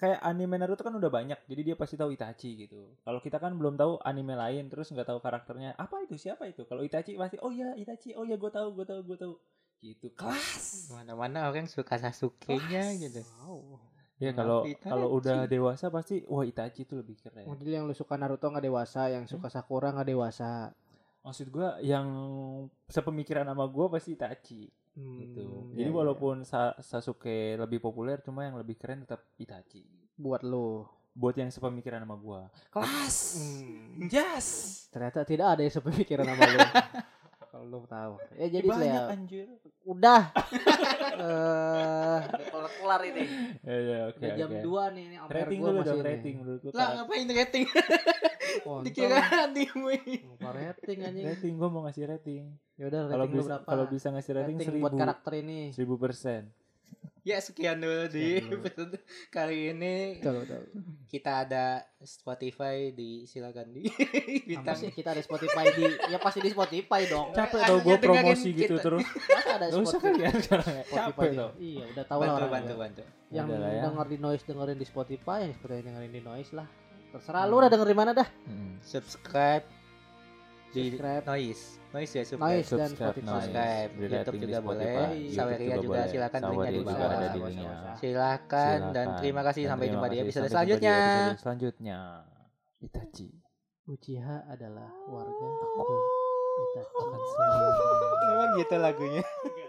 Speaker 3: kayak anime Naruto kan udah banyak, jadi dia pasti tahu Itachi gitu. Kalau kita kan belum tahu anime lain, terus nggak tahu karakternya apa itu siapa itu. Kalau Itachi pasti oh ya Itachi, oh ya gue tahu gue tahu gue tahu gitu. Kelas.
Speaker 1: Mana-mana orang suka Sasuke-nya gitu.
Speaker 2: Wow.
Speaker 3: Ya
Speaker 1: Kenapa
Speaker 3: kalau
Speaker 1: Itachi?
Speaker 3: kalau udah dewasa pasti wah Itachi tuh lebih keren.
Speaker 2: Model yang lu suka Naruto nggak dewasa, yang suka Sakura nggak dewasa.
Speaker 3: Maksud gua yang sepemikiran sama gua pasti Itachi.
Speaker 1: Hmm,
Speaker 3: gitu.
Speaker 1: iya,
Speaker 3: Jadi
Speaker 1: iya.
Speaker 3: walaupun Sa- Sasuke lebih populer, cuma yang lebih keren tetap Itachi.
Speaker 2: buat lo.
Speaker 3: Buat yang sepemikiran sama gua. Kelas.
Speaker 1: Hmm.
Speaker 3: Yes.
Speaker 2: Ternyata tidak ada yang sepemikiran sama lo. Kalau lo tahu. Ya jadi
Speaker 3: Banyak
Speaker 2: Lea,
Speaker 3: anjir.
Speaker 2: udah. Eh,
Speaker 4: kelar-kelar ini.
Speaker 3: Ya ya oke.
Speaker 2: udah jam
Speaker 3: oke.
Speaker 2: 2 nih, ini Ampere
Speaker 3: Rating
Speaker 2: gua
Speaker 3: dulu dong,
Speaker 2: ini.
Speaker 3: rating menurut lu.
Speaker 1: Lah
Speaker 3: Kak.
Speaker 1: ngapain rating?
Speaker 2: Kontol,
Speaker 1: Dikira dimuin.
Speaker 2: Iya kan? lupa rating anjing.
Speaker 3: Rating gua mau ngasih rating.
Speaker 2: Ya udah
Speaker 3: Kalau
Speaker 2: rating lu
Speaker 3: bisa
Speaker 2: berapa?
Speaker 3: kalau bisa ngasih rating,
Speaker 2: rating,
Speaker 3: seribu.
Speaker 2: buat karakter ini.
Speaker 3: Seribu persen.
Speaker 1: Ya sekian dulu di
Speaker 3: Sekian dulu.
Speaker 1: episode kali ini.
Speaker 2: Betul, betul.
Speaker 1: Kita ada Spotify di silakan di
Speaker 2: Apa
Speaker 1: bintang.
Speaker 2: sih kita ada Spotify di ya pasti di Spotify dong.
Speaker 3: Capek
Speaker 1: Akhirnya
Speaker 3: tau gua
Speaker 1: dengerin
Speaker 3: promosi gitu
Speaker 1: kita.
Speaker 3: terus.
Speaker 2: Masa ada
Speaker 3: Gak usah
Speaker 2: Spotify?
Speaker 3: kali ya sekarang ya.
Speaker 2: Spotify
Speaker 3: Capek
Speaker 2: di-
Speaker 3: tau.
Speaker 2: Iya, udah tahu lah
Speaker 1: Bantu
Speaker 2: orang.
Speaker 1: bantu bantu.
Speaker 2: Yang
Speaker 3: Udah lah ya.
Speaker 2: denger di noise dengerin di Spotify, yang Spotify dengerin di noise lah. Terserah
Speaker 3: Hmm.
Speaker 2: lu udah denger di mana dah.
Speaker 3: Mm.
Speaker 1: Subscribe di
Speaker 2: Subscribe.
Speaker 1: Noise. Noise ya subscribe.
Speaker 2: Noise dan
Speaker 3: Subscribe,
Speaker 2: Spotify.
Speaker 3: noise.
Speaker 1: Subscribe.
Speaker 3: Di
Speaker 1: YouTube
Speaker 3: rating di
Speaker 1: juga
Speaker 3: Spotify.
Speaker 1: boleh.
Speaker 3: YouTube
Speaker 1: Saweria juga
Speaker 3: boleh.
Speaker 1: silakan linknya
Speaker 3: Saweria
Speaker 1: di
Speaker 3: juga
Speaker 1: bawah.
Speaker 3: ada di
Speaker 2: Sama-sama.
Speaker 3: linknya.
Speaker 1: Silakan dan
Speaker 3: Silakan.
Speaker 1: terima kasih
Speaker 3: Dan
Speaker 1: sampai
Speaker 3: terima
Speaker 1: jumpa di
Speaker 3: kasih.
Speaker 1: episode
Speaker 3: Sampai jumpa di
Speaker 1: selanjutnya.
Speaker 3: episode selanjutnya. Itachi
Speaker 2: Uchiha Oh. adalah warga aku. Itachi.
Speaker 3: akan selalu
Speaker 1: Memang gitu lagunya.